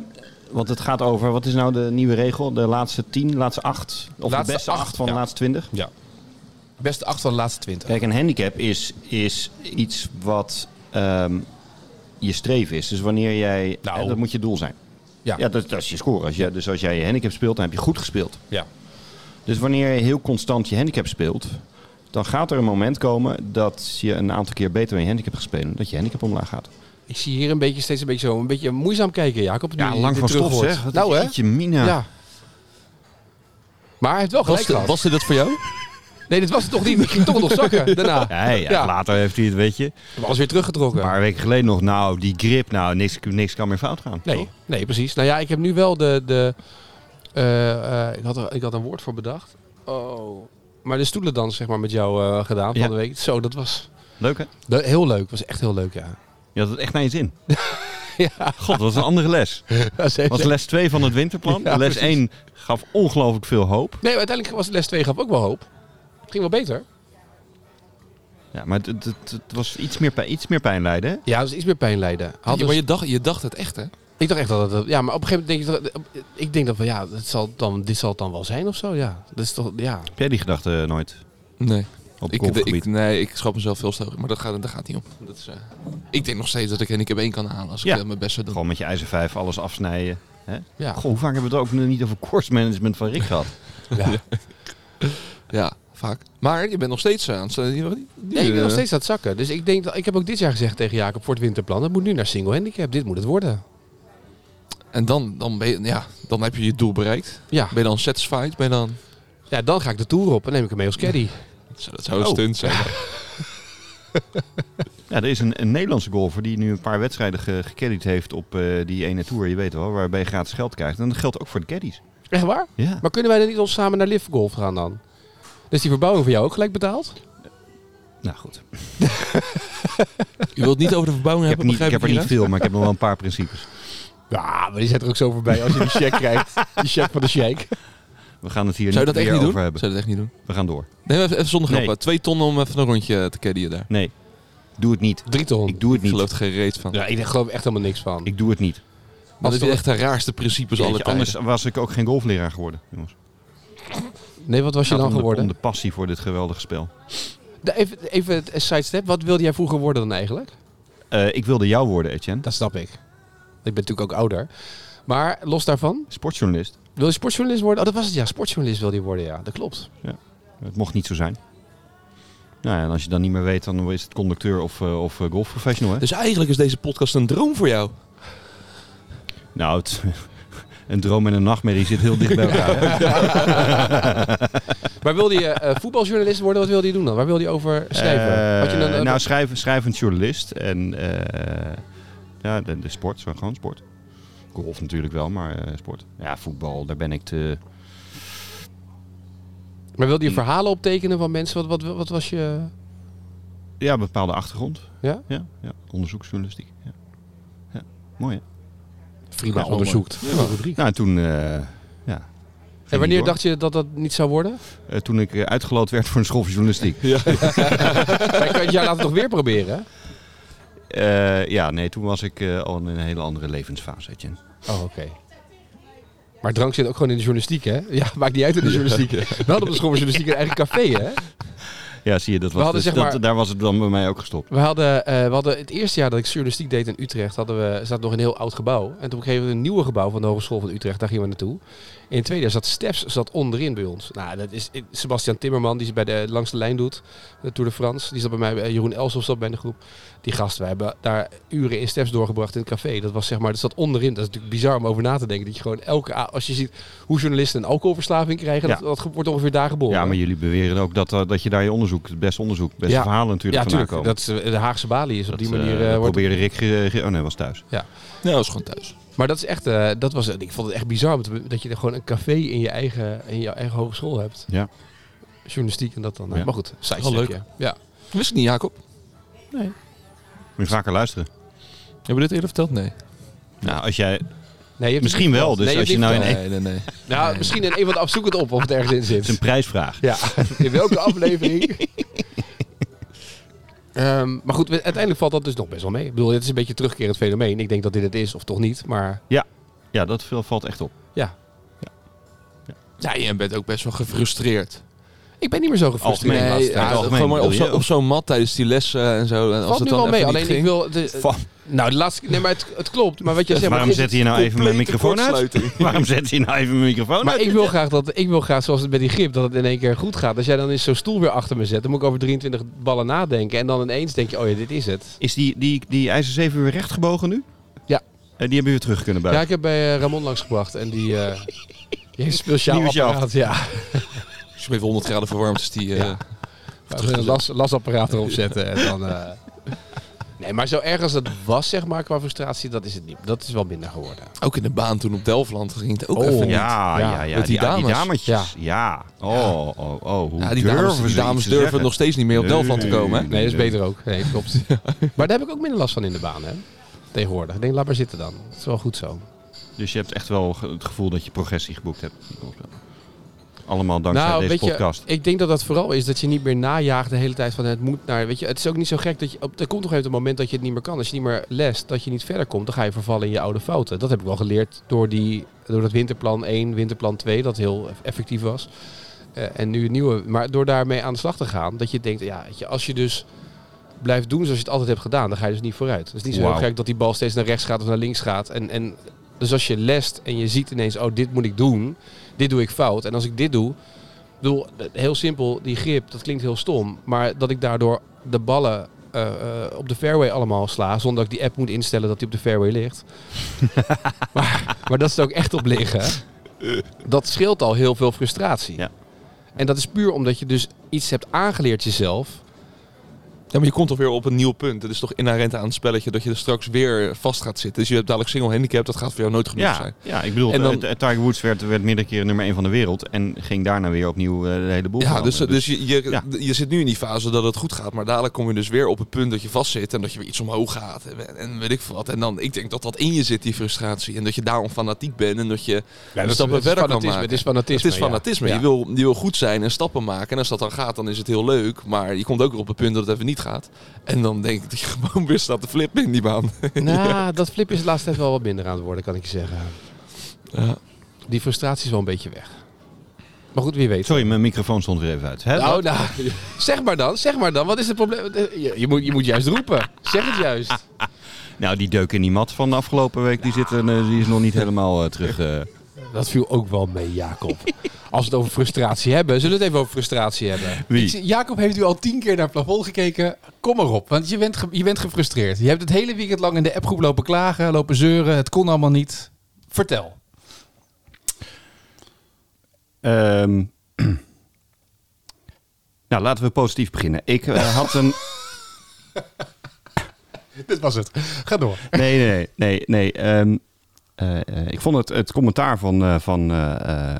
Speaker 7: want het gaat over, wat is nou de nieuwe regel? De laatste tien, laatste acht. Of
Speaker 8: Laatste
Speaker 7: de beste acht,
Speaker 8: acht,
Speaker 7: van
Speaker 8: ja.
Speaker 7: de laatste twintig.
Speaker 8: Beste acht van de laatste twintig.
Speaker 7: Kijk, een handicap is, is iets wat ehm, je streven is. Dus wanneer jij...
Speaker 8: Nou.
Speaker 7: hè, dat moet je doel zijn.
Speaker 8: Ja.
Speaker 7: dat, dat is je score. Als je, dus als jij je handicap speelt, dan heb je goed gespeeld.
Speaker 8: Ja.
Speaker 7: Dus wanneer je heel constant je handicap speelt... dan gaat er een moment komen dat je een aantal keer beter in je handicap gaat spelen... dat je handicap omlaag gaat.
Speaker 1: Ik zie hier een beetje steeds een beetje zo een beetje moeizaam kijken, Jacob. nu
Speaker 2: Ja,
Speaker 1: je
Speaker 2: lang
Speaker 1: dit
Speaker 2: van
Speaker 1: terug
Speaker 2: stof
Speaker 1: hoort.
Speaker 2: zeg. Wat
Speaker 1: Nou, hè?
Speaker 2: is je mina.
Speaker 1: Ja. Maar hij heeft wel gelijk
Speaker 3: Was,
Speaker 1: gehad.
Speaker 3: was dit dat voor jou?
Speaker 1: Nee, dit was het toch niet. Ik ging toch nog zakken daarna.
Speaker 2: Ja, ja,
Speaker 1: Ja.
Speaker 2: later heeft hij het, weet je.
Speaker 1: We hebben alles weer teruggetrokken.
Speaker 2: Een paar weken geleden nog, nou, die grip, nou, niks, niks kan meer fout gaan.
Speaker 1: nee,
Speaker 2: toch?
Speaker 1: nee, precies. Nou ja, ik heb nu wel de... de eh, eh, ik, had er, ik had een woord voor bedacht. Oh. Maar de stoelendans zeg maar, met jou eh, gedaan van
Speaker 2: Ja.
Speaker 1: de week. Zo, dat was
Speaker 2: Leuk, hè?
Speaker 1: le- heel leuk. was echt heel leuk, ja.
Speaker 2: Je had het echt naar je zin.
Speaker 1: Ja.
Speaker 2: God, dat was een andere les. Dat was les 2 van het winterplan.
Speaker 1: Ja,
Speaker 2: les
Speaker 1: precies.
Speaker 2: 1 gaf ongelooflijk veel hoop.
Speaker 1: Nee, maar uiteindelijk was les 2 gaf ook wel hoop. Het ging wel beter.
Speaker 2: Ja, maar het, het, het was iets meer, pijn- iets meer pijn lijden, hè?
Speaker 1: Ja, dus iets meer pijn lijden. Had
Speaker 3: Ja,
Speaker 1: dus-
Speaker 3: maar je dacht, je dacht het echt, hè?
Speaker 1: Ik dacht echt dat het... eh, Ja, maar op een gegeven moment denk ik... dat- Ik denk dat van, ja, het zal dan, dit zal het dan wel zijn of zo, ja. Dat is toch, ja.
Speaker 2: Heb jij die gedachte eh, nooit
Speaker 3: Nee.
Speaker 2: op
Speaker 3: Ik, de-
Speaker 2: golfgebied?
Speaker 3: ik, nee, ik schat mezelf veel te hoog. Maar dat gaat, dat gaat niet om. Dat is, eh, ik denk nog steeds dat ik handicap 1 kan halen als ik
Speaker 2: Ja.
Speaker 3: eh, mijn best zou doen.
Speaker 2: Gewoon met je ijzer 5 alles afsnijden. Hè?
Speaker 1: Ja.
Speaker 2: Goh, hoe vaak hebben we het ook nog niet over course management van Rick gehad?
Speaker 3: Ja, vaak. Maar je bent nog steeds eh, aan het... Nee,
Speaker 1: Nee, ik ben nog steeds aan het zakken. Dus ik denk dat ik heb ook dit jaar gezegd tegen Jacob voor het winterplan. Dat moet nu naar single handicap. Dit moet het worden.
Speaker 3: En dan, dan, ben je, ja, dan heb je je doel bereikt.
Speaker 1: Ja.
Speaker 3: Ben je dan satisfied? Ben je dan...
Speaker 1: Ja, dan ga ik de tour op en neem ik hem mee als caddy.
Speaker 3: Zo, Dat zou een stunt zijn.
Speaker 2: Ja, er is een, een Nederlandse golfer die nu een paar wedstrijden ge gecaddied heeft op eh, die ene tour, je weet wel, waarbij je gratis geld krijgt. En dat geldt ook voor de caddies.
Speaker 1: Echt waar?
Speaker 2: Ja.
Speaker 1: Maar kunnen wij dan niet ons samen naar Live Golf gaan dan? Dus die verbouwing van jou ook gelijk betaald?
Speaker 2: Nou goed,
Speaker 3: Je wilt niet over de verbouwing
Speaker 2: ik heb,
Speaker 3: hebben,
Speaker 2: niet, ik
Speaker 3: begrijp
Speaker 2: heb er niet
Speaker 3: Gerard?
Speaker 2: veel, maar ik heb nog wel een paar principes.
Speaker 1: Ja, maar die zet er ook zo voorbij als je die check krijgt. Die check van de shake.
Speaker 2: We gaan het hier
Speaker 3: Zou je
Speaker 2: niet
Speaker 3: dat echt
Speaker 2: weer
Speaker 3: niet doen?
Speaker 2: over
Speaker 3: Zou
Speaker 2: hebben.
Speaker 3: je dat echt niet doen?
Speaker 2: We gaan door.
Speaker 3: Nee, maar even, even zonder
Speaker 2: Nee.
Speaker 3: grappen. Twee ton om even een rondje te caddien daar.
Speaker 2: Nee, doe het niet.
Speaker 1: Drie ton.
Speaker 2: Ik doe het
Speaker 3: Ik
Speaker 2: niet.
Speaker 3: geloof er geen reet van.
Speaker 1: Ja, ik geloof er echt helemaal niks van.
Speaker 2: Ik doe het niet.
Speaker 1: Dus
Speaker 3: Maar
Speaker 1: was
Speaker 3: dit is echt de raarste principes aller
Speaker 2: Jeetje,
Speaker 3: tijden.
Speaker 2: anders was ik ook geen golfleraar geworden, jongens.
Speaker 1: nee, wat was je
Speaker 2: Het gaat
Speaker 1: dan
Speaker 2: om de-
Speaker 1: geworden?
Speaker 2: Om de passie voor dit geweldige spel.
Speaker 1: Da- Even, even het een sidestep. Wat wilde jij vroeger worden dan eigenlijk?
Speaker 2: Eh, ik wilde jou worden, Etienne.
Speaker 1: Dat snap ik. Ik ben natuurlijk ook ouder. Maar los daarvan,
Speaker 2: Sportjournalist.
Speaker 1: wil je sportjournalist worden? Oh, dat was het ja. Sportjournalist wilde je worden, ja. Dat klopt.
Speaker 2: Het mocht niet zo zijn. Nou ja, en als je dan niet meer weet, dan is het conducteur of, eh, of eh, golfprofessional, hè?
Speaker 3: Dus eigenlijk is deze podcast een droom voor jou.
Speaker 2: Nou, het- een droom en een nachtmerrie zit heel dicht bij elkaar. hè?
Speaker 1: Maar wilde je eh, voetbaljournalist worden? Wat wilde je doen dan? Waar wilde je over schrijven?
Speaker 2: Eh,
Speaker 1: Had je dan, eh,
Speaker 2: nou, schrijf, schrijvend journalist en eh, ja, de, de sport, zo, gewoon sport. Golf natuurlijk wel, maar eh, sport. Ja, voetbal, daar ben ik te...
Speaker 1: maar wilde je verhalen optekenen van mensen? Wat, wat, wat was je...
Speaker 2: Ja, een bepaalde achtergrond.
Speaker 1: Ja?
Speaker 2: Ja, ja. onderzoeksjournalistiek. Ja. Ja. Mooi, hè?
Speaker 1: Prima
Speaker 2: wel
Speaker 1: onderzoekt.
Speaker 2: Nou, en toen... eh, ja.
Speaker 1: En wanneer dacht je dat dat niet zou worden?
Speaker 2: Eh, toen ik eh, uitgeloot werd voor een school voor journalistiek.
Speaker 1: Maar je kan het jaar later toch weer proberen?
Speaker 2: Eh, ja, nee, toen was ik eh, al in een hele andere levensfase, Etienne.
Speaker 1: Oh, oké. Maar drank zit ook gewoon in de journalistiek, hè? Ja, maakt niet uit in de journalistiek. We hadden op de school van journalistiek een eigen café, hè?
Speaker 2: Ja, zie je, dat was
Speaker 1: hadden,
Speaker 2: dus
Speaker 1: zeg maar-
Speaker 2: dat, daar was het dan bij mij ook gestopt.
Speaker 1: We hadden, eh, we hadden het eerste jaar dat ik journalistiek deed in Utrecht, hadden we, zat nog een heel oud gebouw. En toen op een gegeven moment een nieuwe gebouw van de Hogeschool van Utrecht, daar gingen we naartoe. In het tweede jaar zat Stefs zat onderin bij ons. Nou, dat is eh, Sebastian Timmerman, die ze bij de langs de lijn doet, de Tour de France. Die zat bij mij, eh, Jeroen Elshoff zat bij de groep. Die gasten, wij hebben daar uren in Stefs doorgebracht in het café. Dat was zeg maar, dat zat onderin. Dat is natuurlijk bizar om over na te denken. Dat je gewoon elke, a- als je ziet hoe journalisten een alcoholverslaving krijgen,
Speaker 2: Ja.
Speaker 1: dat, dat wordt ongeveer daar geboren.
Speaker 2: Ja, maar jullie beweren ook dat, eh, dat je daar je onderzoek, het beste onderzoek, het beste
Speaker 1: Oh. Ja.
Speaker 2: verhalen
Speaker 1: ja,
Speaker 2: natuurlijk vandaan
Speaker 1: natuurlijk.
Speaker 2: komen.
Speaker 1: Dat is, eh, de Haagse balie is op die
Speaker 2: Dat, eh,
Speaker 1: manier. eh,
Speaker 2: dat
Speaker 1: wordt
Speaker 2: probeerde Rick... Ge- Ge- oh nee, was thuis.
Speaker 3: Nou, dat is gewoon thuis.
Speaker 1: Maar dat is echt, eh, dat was, ik vond het echt bizar om te- dat je er gewoon een café in je eigen, in je eigen hogeschool hebt.
Speaker 2: Ja.
Speaker 1: Journalistiek en dat dan.
Speaker 2: Ja.
Speaker 1: Maar goed,
Speaker 3: Wel
Speaker 1: sidestepje.
Speaker 3: leuk.
Speaker 1: Ja.
Speaker 3: Wist ik niet, Jacob.
Speaker 2: Moet je vaker luisteren.
Speaker 3: Hebben we dit eerder verteld? Nee.
Speaker 2: Nou, als jij...
Speaker 1: Nee, je hebt
Speaker 2: Misschien wel, dus
Speaker 1: Nee, je
Speaker 2: als je
Speaker 1: hebt
Speaker 2: nou in
Speaker 1: niet
Speaker 2: één...
Speaker 3: Nee, nee, nee.
Speaker 1: Nou, misschien in een van de af zoek het op of het ergens in
Speaker 2: Het is een
Speaker 1: zit.
Speaker 2: prijsvraag.
Speaker 1: Ja, in welke aflevering? Ehm, maar goed, we- uiteindelijk valt dat dus nog best wel mee. Ik bedoel, dit is een beetje terugkerend fenomeen. Ik denk dat dit het is, of toch niet. Maar
Speaker 2: Ja, dat veel- valt echt op.
Speaker 3: Ja, je bent ook best wel gefrustreerd.
Speaker 1: ik ben niet meer zo gefrustreerd.
Speaker 2: Algemeen, laatste
Speaker 3: Nee,
Speaker 2: tijd.
Speaker 3: ja,
Speaker 2: Algemeen,
Speaker 3: gewoon Oh, maar op
Speaker 2: bedoel je
Speaker 3: zo'n op zo'n mat tijdens die lessen en zo. En als
Speaker 1: valt
Speaker 3: het
Speaker 1: nu
Speaker 3: dan
Speaker 1: wel mee.
Speaker 3: even niet
Speaker 1: Alleen ik
Speaker 3: ging.
Speaker 1: wil... de-
Speaker 2: Van-
Speaker 1: nou, de laatste, nee, maar het, het klopt. Maar wat je zegt...
Speaker 2: Waarom
Speaker 1: maar-
Speaker 2: zet je nou even mijn
Speaker 3: complete
Speaker 2: microfoon uit? Waarom zet je nou even mijn microfoon
Speaker 1: Maar
Speaker 2: uit?
Speaker 1: ik wil graag dat ik wil graag, zoals het met die grip, dat het in één keer goed gaat. Als jij dan eens zo'n stoel weer achter me zet, dan moet ik over 23 ballen nadenken. En dan ineens denk je, oh ja, dit is het.
Speaker 2: Is die, die, die ijzer 7 weer recht gebogen nu?
Speaker 1: Ja.
Speaker 2: En die hebben we weer terug kunnen
Speaker 1: Ja,
Speaker 2: buigen.
Speaker 1: ik heb bij eh, Ramon langsgebracht en die, eh, die heeft een speciaal
Speaker 2: Nieuwe shaft.
Speaker 1: apparaat. Ja,
Speaker 3: Als je hem even 100 graden verwarmt, is die... eh,
Speaker 1: Ja. een las, lasapparaat erop zetten en dan... eh. Nee, maar zo erg als dat was, zeg maar, qua frustratie, dat is het niet. Dat is wel minder geworden.
Speaker 3: Ook in de baan toen op Delftland ging het ook
Speaker 1: Oh,
Speaker 3: even niet.
Speaker 2: Ja, ja,
Speaker 1: Ja,
Speaker 2: Ah, ja,
Speaker 3: met die
Speaker 2: a-
Speaker 3: dames.
Speaker 2: dametjes. Ja. Oh, oh, oh. Hoe
Speaker 3: Ja, die
Speaker 2: durven
Speaker 3: dames,
Speaker 2: ze
Speaker 3: die dames
Speaker 2: iets te
Speaker 3: durven
Speaker 2: zeggen?
Speaker 3: nog steeds niet meer op
Speaker 2: Nee.
Speaker 3: Delftland te komen. Hè?
Speaker 1: Nee, dat is beter ook. Nee, klopt. maar daar heb ik ook minder last van in de baan, hè. Tegenwoordig. Ik denk, laat maar zitten dan. Het is wel goed zo.
Speaker 2: Dus je hebt echt wel ge- het gevoel dat je progressie geboekt hebt. Nou, Allemaal dankzij deze
Speaker 1: weet
Speaker 2: podcast.
Speaker 1: Je, ik denk dat dat vooral is dat je niet meer najaagt de hele tijd van het moet naar. Weet je, het is ook niet zo gek dat je. Op, er komt toch even een moment dat je het niet meer kan. Als je niet meer lest, dat je niet verder komt, dan ga je vervallen in je oude fouten. Dat heb ik wel geleerd door, die, door dat winterplan 1, winterplan 2, dat heel eff- effectief was. Eh, en nu het nieuwe. Maar door daarmee aan de slag te gaan, dat je denkt, ja, weet je, als je dus blijft doen zoals je het altijd hebt gedaan, dan ga je dus niet vooruit. Het is niet zo heel
Speaker 2: Wauw.
Speaker 1: gek dat die bal steeds naar rechts gaat of naar links gaat. En, en dus als je lest en je ziet ineens, oh, dit moet ik doen, dit doe ik fout. En als ik dit doe, Ik bedoel, heel simpel, die grip, dat klinkt heel stom. Maar dat ik daardoor de ballen eh, eh, op de fairway allemaal sla. Zonder dat ik die app moet instellen dat die op de fairway ligt. maar, maar dat ze er ook echt op liggen. Dat scheelt al heel veel frustratie.
Speaker 2: Ja.
Speaker 1: En dat is puur omdat je dus iets hebt aangeleerd jezelf.
Speaker 3: Ja, maar je komt toch weer op een nieuw punt. Het is toch inherent aan het spelletje dat je er straks weer vast gaat zitten. Dus je hebt dadelijk single handicap, dat gaat voor jou nooit genoeg
Speaker 2: Ja,
Speaker 3: zijn.
Speaker 2: ja, ik bedoel,
Speaker 3: En dan-
Speaker 2: eh, Tiger Woods werd, werd meerdere keren nummer 1 van de wereld. En ging daarna weer opnieuw eh, de hele boel
Speaker 3: Ja, dus,
Speaker 2: veranderen.
Speaker 3: dus je, je,
Speaker 2: ja.
Speaker 3: je zit nu in die fase dat het goed gaat, maar dadelijk kom je dus weer op het punt dat je vastzit en dat je weer iets omhoog gaat en, en weet ik veel wat. En dan, ik denk dat dat in je zit, die frustratie. En dat je daarom fanatiek bent en dat je stappen
Speaker 1: het is
Speaker 3: verder kan
Speaker 1: fanatisme.
Speaker 3: maken.
Speaker 1: Het is fanatisme.
Speaker 3: Het is
Speaker 1: ja.
Speaker 3: fanatisme.
Speaker 1: Ja.
Speaker 3: Je, wil, je wil goed zijn en stappen maken. En als dat dan gaat, dan is het heel leuk. Maar je komt ook weer op het punt dat het even niet gaat. En dan denk ik dat je gewoon weer staat te flippen in die baan.
Speaker 1: Nou, dat flip is de laatste tijd wel wat minder aan het worden, kan ik je zeggen.
Speaker 3: Ja.
Speaker 1: Die frustratie is wel een beetje weg. Maar goed, wie weet.
Speaker 2: Sorry, mijn microfoon stond weer even uit. Hè?
Speaker 1: Nou, nou, zeg maar dan, zeg maar dan. Wat is het probleem? Eh, Je, je moet, je moet juist roepen. Zeg het juist.
Speaker 2: Nou, die deuk in die mat van de afgelopen week, die, zit, er, eh, die is nog niet helemaal eh, terug. eh.
Speaker 1: Dat viel ook wel mee, Jacob. Als we het over frustratie hebben, zullen we het even over frustratie hebben.
Speaker 2: Wie?
Speaker 6: Ik zie- Jacob heeft u al tien keer naar het plafond gekeken. Kom maar op, want je bent, ge- je bent gefrustreerd. Je hebt het hele weekend lang in de appgroep lopen klagen, lopen zeuren. Het kon allemaal niet. Vertel.
Speaker 2: Ehm, nou, laten we positief beginnen. Ik eh, had een...
Speaker 6: Dit was het. Ga door.
Speaker 2: Nee, nee, nee, nee. nee. Ehm, eh, eh, ik vond het, het commentaar van, eh, van eh, eh,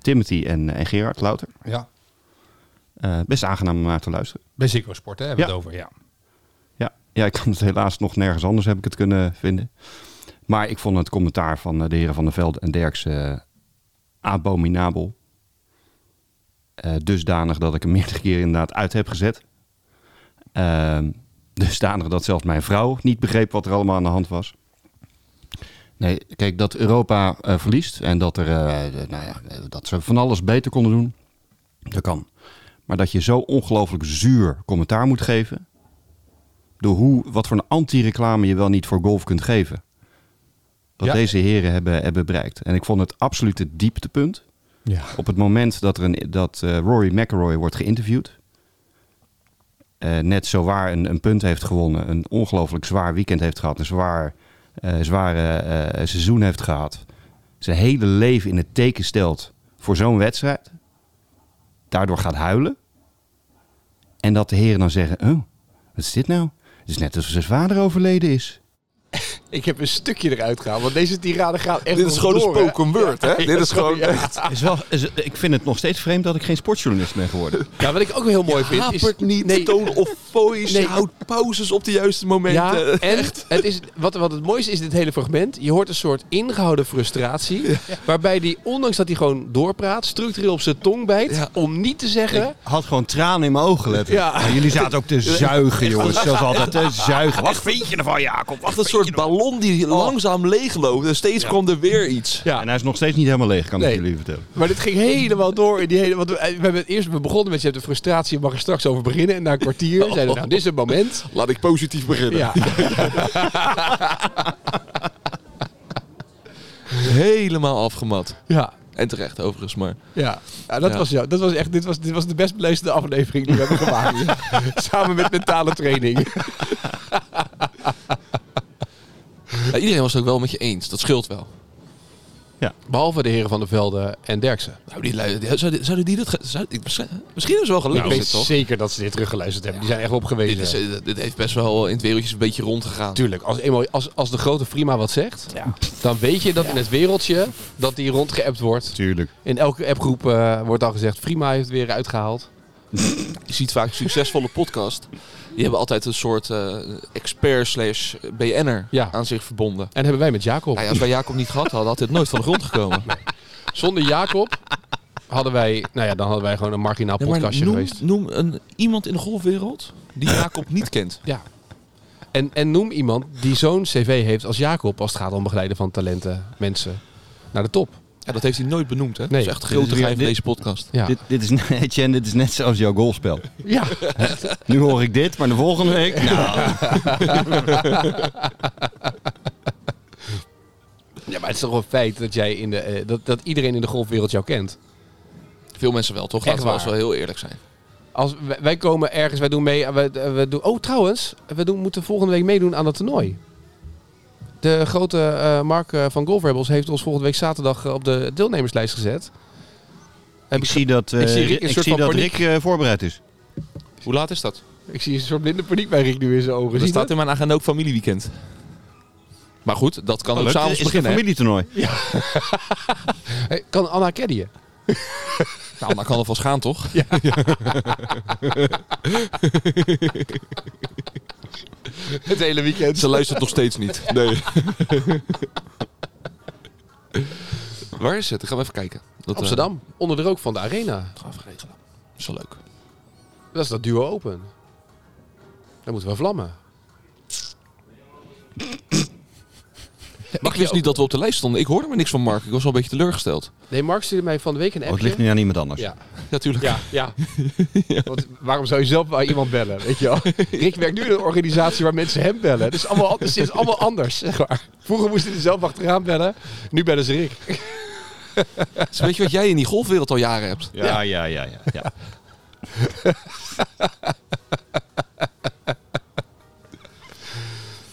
Speaker 2: Timothy en, en Gerard Louter
Speaker 6: Ja,
Speaker 2: eh, best aangenaam om naar te luisteren.
Speaker 6: bij Ziggo Sport hè, hebben we
Speaker 2: Ja.
Speaker 6: het over. Ja.
Speaker 2: Ja, ja, ik kan het helaas nog nergens anders heb ik het kunnen vinden. Maar ik vond het commentaar van eh, de heren Van der Velde en Derks eh, abominabel. Eh, dusdanig dat ik hem meerdere keer inderdaad uit heb gezet. Ehm, dusdanig dat zelfs mijn vrouw niet begreep wat er allemaal aan de hand was. Nee, kijk, dat Europa eh, verliest en dat, er, eh, eh, nou ja, eh, dat ze van alles beter konden doen, dat kan. Maar dat je zo ongelooflijk zuur commentaar moet geven, door hoe, wat voor een anti-reclame je wel niet voor golf kunt geven. Wat
Speaker 6: Ja.
Speaker 2: deze heren hebben, hebben bereikt. En ik vond het absoluut het dieptepunt.
Speaker 6: Ja.
Speaker 2: Op het moment dat, er een, dat eh, Rory McIlroy wordt geïnterviewd. eh, net zo waar een, een punt heeft gewonnen. Een ongelooflijk zwaar weekend heeft gehad. Een zwaar, eh, zware eh, seizoen heeft gehad. Zijn hele leven in het teken stelt voor zo'n wedstrijd. Daardoor gaat huilen. En dat de heren dan zeggen... Oh, wat is dit nou? Het is net alsof zijn vader overleden is.
Speaker 1: Ik heb een stukje eruit gehaald, want deze tirade gaat echt
Speaker 3: Dit is
Speaker 1: nog
Speaker 3: gewoon een
Speaker 1: door, hè?
Speaker 3: spoken word, hè? Dit is gewoon...
Speaker 2: Is wel, is- ik vind het nog steeds vreemd dat ik geen sportjournalist ben geworden.
Speaker 1: Ja, wat ik ook heel mooi vind is...
Speaker 3: Hapert niet,
Speaker 1: Nee.
Speaker 3: toon of voice,
Speaker 1: Nee.
Speaker 3: houdt pauzes op de juiste momenten.
Speaker 1: Ja, en het is, wat, wat het mooiste is in dit hele fragment. Je hoort een soort ingehouden frustratie. Waarbij die, ondanks dat hij gewoon doorpraat, structureel op zijn tong bijt.
Speaker 3: Ja.
Speaker 1: Om niet te zeggen...
Speaker 2: Had gewoon tranen in mijn ogen, letterlijk.
Speaker 1: Ja.
Speaker 2: Maar jullie zaten ook te zuigen, jongens. Zoals altijd, te zuigen. Wat vind je ervan, Jacob? Wat
Speaker 3: Echt een soort ballon
Speaker 1: Oh.
Speaker 3: die langzaam leegloopt en steeds kwam er weer iets.
Speaker 1: Ja.
Speaker 2: En hij is nog steeds niet helemaal leeg, kan
Speaker 1: Nee.
Speaker 2: ik jullie vertellen.
Speaker 1: Maar dit ging helemaal door in die hele. Want we, we hebben het eerst we begonnen met je hebt de frustratie, je mag er straks over beginnen. En na een kwartier zeiden we, nou, dit is het moment.
Speaker 3: Laat ik positief beginnen.
Speaker 1: Ja.
Speaker 3: Helemaal afgemat.
Speaker 1: Ja.
Speaker 3: En terecht overigens, maar...
Speaker 1: Ja, Ja, dat,
Speaker 3: Ja.
Speaker 1: Was, ja, dat was echt, dit was, dit was de best beluisterde aflevering die we hebben gemaakt. Ja. Samen met mentale training.
Speaker 3: Ja, iedereen was het ook wel met je eens, dat scheelt wel.
Speaker 1: Behalve de heren van de Velde en Derksen.
Speaker 3: Nou, die, lui- die- zouden, zouden die dat... ge- zou- ik, misschien hebben ze wel
Speaker 1: ik
Speaker 3: gelukkig,
Speaker 1: weet
Speaker 3: toch?
Speaker 1: Nou, zeker dat ze dit teruggeluisterd hebben. Die zijn echt opgewezen.
Speaker 3: Dit, is, eh, dit heeft best wel in het wereldje een beetje rondgegaan.
Speaker 1: Tuurlijk, als, eenmaal, als, als de grote Prima wat zegt, dan weet je dat in het wereldje dat die rondgeappt wordt.
Speaker 2: Tuurlijk.
Speaker 1: In elke appgroep eh, wordt al gezegd, Prima heeft weer uitgehaald.
Speaker 3: Je ziet vaak succesvolle podcast. Die hebben altijd een soort eh, expert slash BN'er
Speaker 1: Ja.
Speaker 3: aan zich verbonden.
Speaker 1: En hebben wij met Jacob.
Speaker 3: Nou ja, als wij Jacob niet gehad hadden, had dit nooit van de grond gekomen.
Speaker 1: Zonder Jacob hadden wij, nou ja, dan hadden wij gewoon een marginaal
Speaker 3: Ja, maar
Speaker 1: podcastje
Speaker 3: noem,
Speaker 1: geweest.
Speaker 3: noem een, iemand in de golfwereld die Jacob niet kent.
Speaker 1: Ja. En, en noem iemand die zo'n cv heeft als Jacob als het gaat om begeleiden van talenten, mensen naar de top.
Speaker 3: Ja, dat heeft hij nooit benoemd, hè?
Speaker 1: Nee.
Speaker 3: dat is echt een grote
Speaker 2: Dit is
Speaker 3: geheim van
Speaker 2: weer-
Speaker 3: deze podcast.
Speaker 1: Ja.
Speaker 2: Dit, dit, is, Etienne, dit is net zoals jouw golfspel.
Speaker 1: ja.
Speaker 2: Nu hoor ik dit, maar de volgende week... Nou,
Speaker 1: ja, maar het is toch wel een feit dat, jij in de, eh, dat, dat iedereen in de golfwereld jou kent.
Speaker 4: Veel mensen wel, toch?
Speaker 1: Echt
Speaker 4: Laten we als
Speaker 1: waar.
Speaker 4: wel heel eerlijk zijn.
Speaker 1: Als wij, wij komen ergens, wij doen mee. We, we doen, oh, trouwens, we doen, moeten volgende week meedoen aan dat toernooi. De grote eh, Mark eh, van Golf Rebels heeft ons volgende week zaterdag eh, op de deelnemerslijst gezet. Heb
Speaker 2: Ik zie dat, eh,
Speaker 1: ik zie Rick een
Speaker 2: Rick, ik
Speaker 1: soort
Speaker 2: zie
Speaker 1: van
Speaker 2: dat
Speaker 1: paniek.
Speaker 2: Rick eh, voorbereid is.
Speaker 4: Hoe laat is dat?
Speaker 1: ik zie een soort blinde paniek bij Rick nu in zijn ogen.
Speaker 4: Er
Speaker 1: Zie je
Speaker 4: staat in mijn agenda ook familieweekend. Maar goed, dat kan ook
Speaker 2: Leuk.
Speaker 4: s'avonds
Speaker 2: Is het een
Speaker 4: beginnen. hè?
Speaker 2: familietoernooi?
Speaker 1: dat? Hey, kan Anna caddyen?
Speaker 4: Nou, dan kan er vast gaan, toch?
Speaker 1: Het hele weekend.
Speaker 4: Ze luistert nog steeds niet. Nee. Waar is het? Ik ga even kijken. Dat, eh,
Speaker 1: Amsterdam, onder de rook van de arena.
Speaker 4: is wel leuk.
Speaker 1: Dat is dat duo open. Dan moeten we vlammen.
Speaker 4: ik wist niet dat we op de lijst stonden. Ik hoorde maar niks van Mark. Ik was wel een beetje teleurgesteld.
Speaker 1: Nee, Mark stuurde mij van de week een
Speaker 2: Oh, het
Speaker 1: appje.
Speaker 2: ligt nu aan iemand anders.
Speaker 1: Ja.
Speaker 4: Natuurlijk.
Speaker 1: Ja, ja. Want waarom zou je zelf wel iemand bellen, weet je wel? Rick werkt nu in een organisatie waar mensen hem bellen. Het is allemaal, an- het is allemaal anders, zeg maar. Vroeger moesten ze zelf achteraan bellen. Nu bellen ze Rick.
Speaker 4: Dus weet je wat jij in die golfwereld al jaren hebt?
Speaker 2: Ja, ja, ja, ja. ja.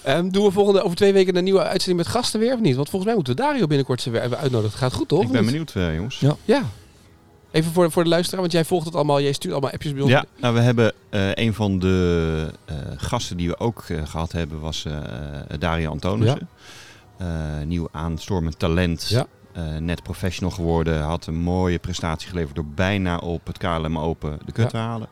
Speaker 1: En Ehm, doen we volgende, over twee weken een nieuwe uitzending met gasten weer of niet? Want volgens mij moeten we Dario binnenkort ze weer even uitnodigen. Het gaat goed, toch?
Speaker 2: Ik
Speaker 1: Of
Speaker 2: ben
Speaker 1: niet?
Speaker 2: benieuwd, eh, jongens.
Speaker 1: Ja. Even voor, voor de luisteraar, want jij volgt het allemaal. Jij stuurt allemaal appjes bij ons.
Speaker 2: Ja, nou, we hebben eh, een van de eh, gasten die we ook eh, gehad hebben, was eh Daria Antonissen. Eh, nieuw aanstormend talent.
Speaker 1: Ja.
Speaker 2: Eh, net professional geworden. Had een mooie prestatie geleverd door bijna op het KLM Open de kut
Speaker 1: Ja.
Speaker 2: te halen.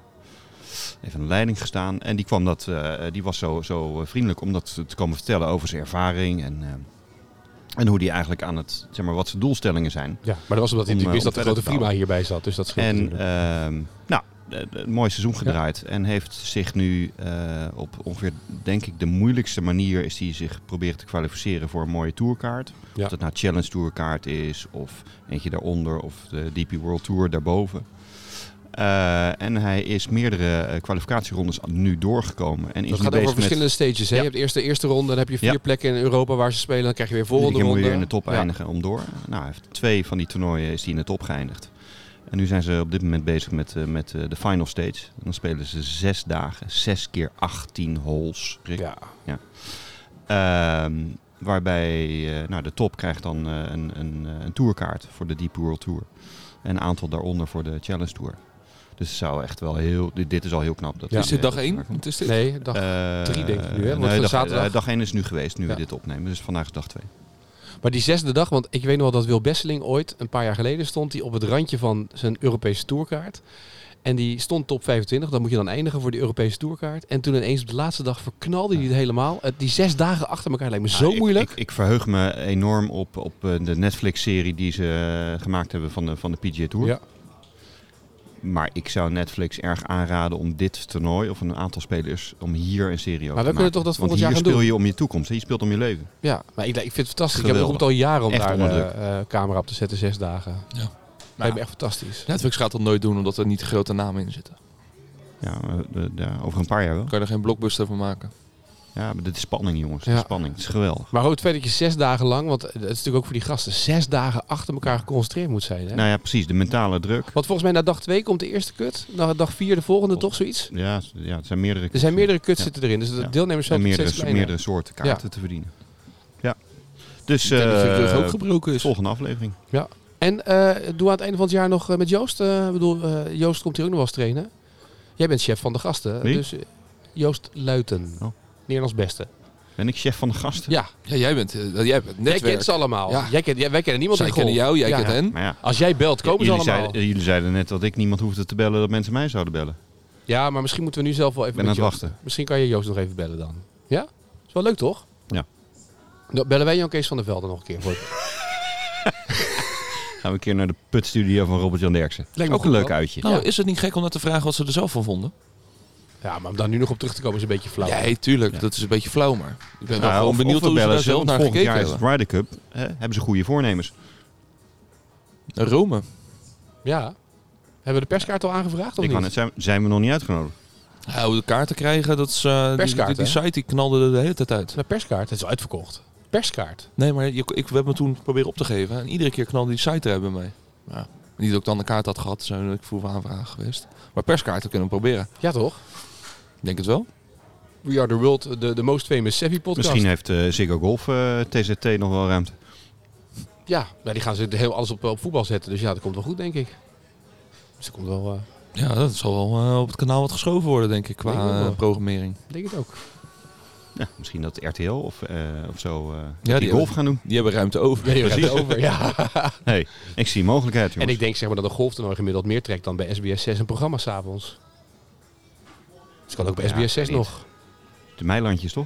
Speaker 2: Heeft aan de leiding gestaan. En die, kwam dat, eh, die was zo, zo eh, vriendelijk om dat te komen vertellen over zijn ervaring. En, eh, en hoe die eigenlijk aan het, zeg maar, wat zijn doelstellingen zijn.
Speaker 1: Ja, maar dat was omdat hij
Speaker 2: Om,
Speaker 1: natuurlijk wist dat
Speaker 2: eh,
Speaker 1: de
Speaker 2: om verder
Speaker 1: grote
Speaker 2: te bouwen.
Speaker 1: Prima hierbij zat. Dus dat scheelt
Speaker 2: En
Speaker 1: natuurlijk.
Speaker 2: ehm, nou, eh, een mooi seizoen gedraaid. En heeft zich nu eh, op ongeveer, denk ik, de moeilijkste manier... is die zich proberen te kwalificeren voor een mooie tourkaart.
Speaker 1: Ja.
Speaker 2: Of dat nou Challenge Tourkaart is, of eentje daaronder... of de DP World Tour daarboven. Eh, en hij is meerdere eh, kwalificatierondes nu doorgekomen. En is
Speaker 1: Dat gaat
Speaker 2: nu
Speaker 1: over
Speaker 2: bezig met...
Speaker 1: verschillende stages. Hè?
Speaker 2: Ja.
Speaker 1: Je hebt eerst de eerste ronde, dan heb je vier
Speaker 2: Ja.
Speaker 1: plekken in Europa waar ze spelen. Dan krijg je weer
Speaker 2: Iedere
Speaker 1: volgende
Speaker 2: keer moet
Speaker 1: ronde.
Speaker 2: je weer in de top
Speaker 1: Ja.
Speaker 2: eindigen om door. Nou, hij heeft twee van die toernooien is hij in de top geëindigd. En nu zijn ze op dit moment bezig met, eh, met eh, de final stage. En dan spelen ze zes dagen, zes keer 18 holes. Rick.
Speaker 1: Ja.
Speaker 2: Ehm, waarbij eh, nou, de top krijgt dan eh, een, een, eh, een tourkaart voor de Deep World Tour. En een aantal daaronder voor de Challenge Tour. Dus het zou echt wel heel... Dit, dit is al heel knap. Dat
Speaker 1: Ja.
Speaker 2: hij,
Speaker 4: Is dit
Speaker 2: eh,
Speaker 4: dag
Speaker 2: dat
Speaker 4: 1?
Speaker 2: ver komt.
Speaker 4: Wat is dit?
Speaker 1: Nee, dag.
Speaker 2: Eh,
Speaker 1: drie denk ik nu, hè? Want
Speaker 2: nee,
Speaker 1: van
Speaker 2: dag,
Speaker 1: zaterdag-
Speaker 2: eh, dag 1 is nu geweest, nu
Speaker 1: Ja.
Speaker 2: we dit opnemen. Dus vandaag is dag 2.
Speaker 1: maar die zesde dag, want ik weet nog wel dat Wil Besseling ooit, een paar jaar geleden, stond hij op het randje van zijn Europese tourkaart. En die stond top 25, dan moet je dan eindigen voor die Europese tourkaart. En toen ineens op de laatste dag verknalde hij het helemaal. Het- Die zes dagen achter elkaar lijkt me zo
Speaker 2: Ja, ik-
Speaker 1: moeilijk.
Speaker 2: Ik, ik, verheug me enorm op, op eh, de Netflix-serie die ze eh, gemaakt hebben van de, van de PGA Tour.
Speaker 1: Ja.
Speaker 2: Maar ik zou Netflix erg aanraden om dit toernooi, of een aantal spelers, om hier een serie over
Speaker 1: Maar we
Speaker 2: te
Speaker 1: kunnen
Speaker 2: maken.
Speaker 1: toch dat
Speaker 2: Want
Speaker 1: volgend jaar
Speaker 2: hier
Speaker 1: gaan
Speaker 2: speel
Speaker 1: doen?
Speaker 2: je om je toekomst, hè? je speelt om je leven.
Speaker 1: Ja, maar ik, ik vind het fantastisch. Ik
Speaker 2: Geweldig.
Speaker 1: heb het al jaren om
Speaker 2: Echt
Speaker 1: daar
Speaker 2: onder
Speaker 1: eh,
Speaker 2: druk.
Speaker 1: eh, camera op te zetten, zes dagen.
Speaker 4: Ja.
Speaker 1: Lijkt me echt fantastisch.
Speaker 4: Netflix gaat dat nooit doen omdat er niet grote namen in zitten.
Speaker 2: Ja, eh, de- de- over een paar jaar wel.
Speaker 4: Dan kan je er geen blockbuster van maken.
Speaker 2: Ja, maar dit is spanning, jongens.
Speaker 1: Ja.
Speaker 2: Dit is spanning. Het is geweldig.
Speaker 1: Maar hoe het feit dat je zes dagen lang, want het is natuurlijk ook voor die gasten, zes dagen achter elkaar geconcentreerd moet zijn. Hè?
Speaker 2: Nou ja, precies. De mentale druk.
Speaker 1: Want volgens mij na dag twee komt de eerste kut, na dag vier de volgende toch zoiets?
Speaker 2: Ja, s- ja het zijn meerdere...
Speaker 1: Er zijn meerdere kuts
Speaker 2: Ja.
Speaker 1: zitten erin, dus de
Speaker 2: Ja.
Speaker 1: deelnemers
Speaker 2: en
Speaker 1: zijn steeds
Speaker 2: meerdere,
Speaker 1: kleiner.
Speaker 2: meerdere soorten kaarten te verdienen. Ja. Dus
Speaker 4: ik denk dat je
Speaker 2: eh,
Speaker 4: rug ook gebroken is.
Speaker 2: volgende aflevering.
Speaker 1: En eh doen we aan het einde van het jaar nog eh, met Joost. eh, ik bedoel, eh, Joost komt hier ook nog wel eens trainen. Jij bent chef van de gasten,
Speaker 2: Wie?
Speaker 1: dus eh, Joost Luiten,
Speaker 2: Oh.
Speaker 1: Nederlands beste.
Speaker 2: Ben ik chef van de gasten?
Speaker 1: Ja,
Speaker 4: Ja, jij bent, eh, jij bent
Speaker 1: jij
Speaker 4: netwerk.
Speaker 1: kent ze allemaal.
Speaker 4: Ja.
Speaker 1: Jij kent, jij- wij kennen niemand
Speaker 4: Zij
Speaker 1: in
Speaker 4: kennen
Speaker 1: golf.
Speaker 4: jou, jij
Speaker 1: Ja,
Speaker 4: kent
Speaker 1: ja.
Speaker 4: hen.
Speaker 2: Maar ja,
Speaker 1: Als jij belt, komen ze
Speaker 2: jullie,
Speaker 1: allemaal.
Speaker 2: zeiden, jullie zeiden net dat ik niemand hoefde te bellen dat mensen mij zouden bellen.
Speaker 1: Ja, maar misschien moeten we nu zelf wel
Speaker 2: Ik
Speaker 1: even
Speaker 2: ben aan
Speaker 1: met
Speaker 2: het
Speaker 1: Joost-
Speaker 2: wachten.
Speaker 1: Misschien kan je Joost nog even bellen dan. Ja? Is wel leuk, toch?
Speaker 2: Ja.
Speaker 1: Nou, bellen wij Jan Kees van der Velde nog een keer. Voor
Speaker 2: Gaan we een keer naar de putstudio van Robert-Jan Derksen.
Speaker 1: Lijkt me
Speaker 2: Ook een
Speaker 1: goed,
Speaker 2: leuk
Speaker 1: man.
Speaker 2: uitje.
Speaker 4: Nou, is het niet gek om net te vragen wat ze er zelf van vonden?
Speaker 1: ja, maar om daar nu nog op terug te komen is een beetje flauw.
Speaker 4: Nou. Ja, tuurlijk.
Speaker 2: Ja.
Speaker 4: Dat is een beetje flauw, maar ik ben wel
Speaker 2: Nou,
Speaker 4: gewoon
Speaker 2: of-
Speaker 4: benieuwd
Speaker 2: of we
Speaker 4: hoe ze
Speaker 2: bellen
Speaker 4: daar zelf
Speaker 2: want
Speaker 4: naar
Speaker 2: volgend
Speaker 4: gekeken
Speaker 2: jaar is
Speaker 4: hebben.
Speaker 2: het Ryder Cup. Hè, hebben ze goede voornemens.
Speaker 4: Rome.
Speaker 1: Ja. Hebben we de perskaart al aangevraagd of
Speaker 2: Ik kan
Speaker 1: niet?
Speaker 2: het, zijn, zijn we nog niet uitgenodigd?
Speaker 4: Ja, hoe de kaarten krijgen, dat is, eh, die- die,
Speaker 1: Perskaart,
Speaker 4: die
Speaker 1: hè?
Speaker 4: site die knalde er de hele tijd uit.
Speaker 1: De perskaart, het is al uitverkocht. Perskaart.
Speaker 4: Nee, maar je, ik heb me toen proberen op te geven. En iedere keer knalde die site eruit bij mij. Ja,
Speaker 3: Niet dat ik dan de kaart had gehad, zou ik vroeg aanvragen geweest. Maar perskaarten kunnen we proberen.
Speaker 1: Ja, toch?
Speaker 3: Ik Denk het wel.
Speaker 1: We are the world, de, de most famous Sevi podcast.
Speaker 2: Misschien heeft eh, Ziggo Golf eh, TZT nog wel ruimte.
Speaker 1: Ja, maar die gaan ze heel alles op, op voetbal zetten. Dus ja, dat komt wel goed, denk ik. Dus dat komt wel... eh,
Speaker 3: Ja, dat zal wel eh, op het kanaal wat geschoven worden, denk ik, qua
Speaker 1: Denk ik ook wel.
Speaker 3: eh, programmering.
Speaker 1: ik denk het ook.
Speaker 2: Ja, misschien dat RTL of, eh, of zo eh,
Speaker 3: die
Speaker 2: die, golf
Speaker 3: hebben-
Speaker 2: gaan doen.
Speaker 3: Die hebben ruimte over.
Speaker 1: Ja, je gaat het over, ja.
Speaker 2: Hey, ik zie mogelijkheid,
Speaker 1: En
Speaker 2: jongens.
Speaker 1: ik denk zeg maar dat een golftoernooi gemiddeld meer trekt dan bij SBS 6 een programma s'avonds. Dus kan ook bij
Speaker 2: Ja,
Speaker 1: SBS 6
Speaker 2: niet.
Speaker 1: nog.
Speaker 2: De Meilandjes, toch?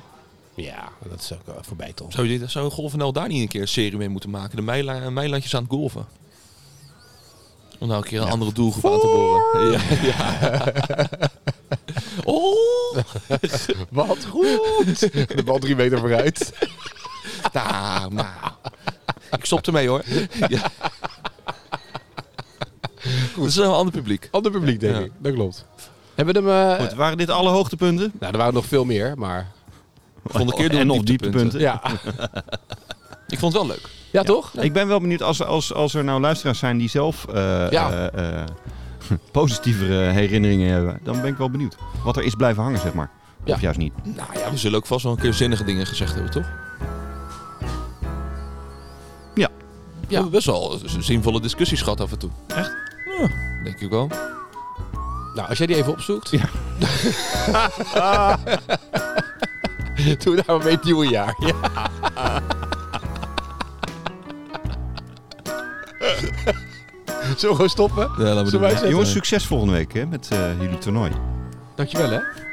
Speaker 1: Ja, dat is ook eh, voorbij, Tom.
Speaker 3: Zou, je dit, zou Golf NL daar niet een keer een serie mee moeten maken? De Meila- Meilandjes aan het golven. Om nou een keer een andere doelgroep aan te boren. Ja, ja. oh!
Speaker 1: Wat goed! De bal drie meter vooruit.
Speaker 3: Nou, nou. Ik stop ermee hoor. Ja. Dat is een ander publiek.
Speaker 1: Ander publiek, denk
Speaker 3: Ja.
Speaker 1: ik. Dat klopt. Hebben we hem... eh,
Speaker 2: Goed, waren dit alle hoogtepunten?
Speaker 1: nou, er waren nog veel meer, maar...
Speaker 3: Volgende keer doen we
Speaker 2: en nog
Speaker 3: oh, dieptepunten.
Speaker 2: dieptepunten.
Speaker 1: Ja,
Speaker 3: Ik vond het wel leuk.
Speaker 1: ja toch?
Speaker 2: Ik ben wel benieuwd als, als, als er nou luisteraars zijn die zelf eh,
Speaker 1: Ja.
Speaker 2: eh, eh, positievere herinneringen hebben. Dan ben ik wel benieuwd wat er is blijven hangen, zeg maar.
Speaker 1: Ja.
Speaker 2: Of juist niet.
Speaker 3: Nou ja, we zullen ook vast wel een keer zinnige dingen gezegd hebben, toch?
Speaker 2: Ja.
Speaker 3: We hebben best wel zinvolle discussies gehad af en toe.
Speaker 2: Echt?
Speaker 3: Ja, denk ik wel.
Speaker 1: Nou, als jij die even opzoekt.
Speaker 2: Ja.
Speaker 1: Doe daar maar mee het nieuwe jaar. Ja. Zullen we gewoon stoppen?
Speaker 3: Ja, laten we
Speaker 1: Zullen wij
Speaker 2: Jongens, succes volgende week hè, met eh, jullie toernooi.
Speaker 1: Dankjewel hè.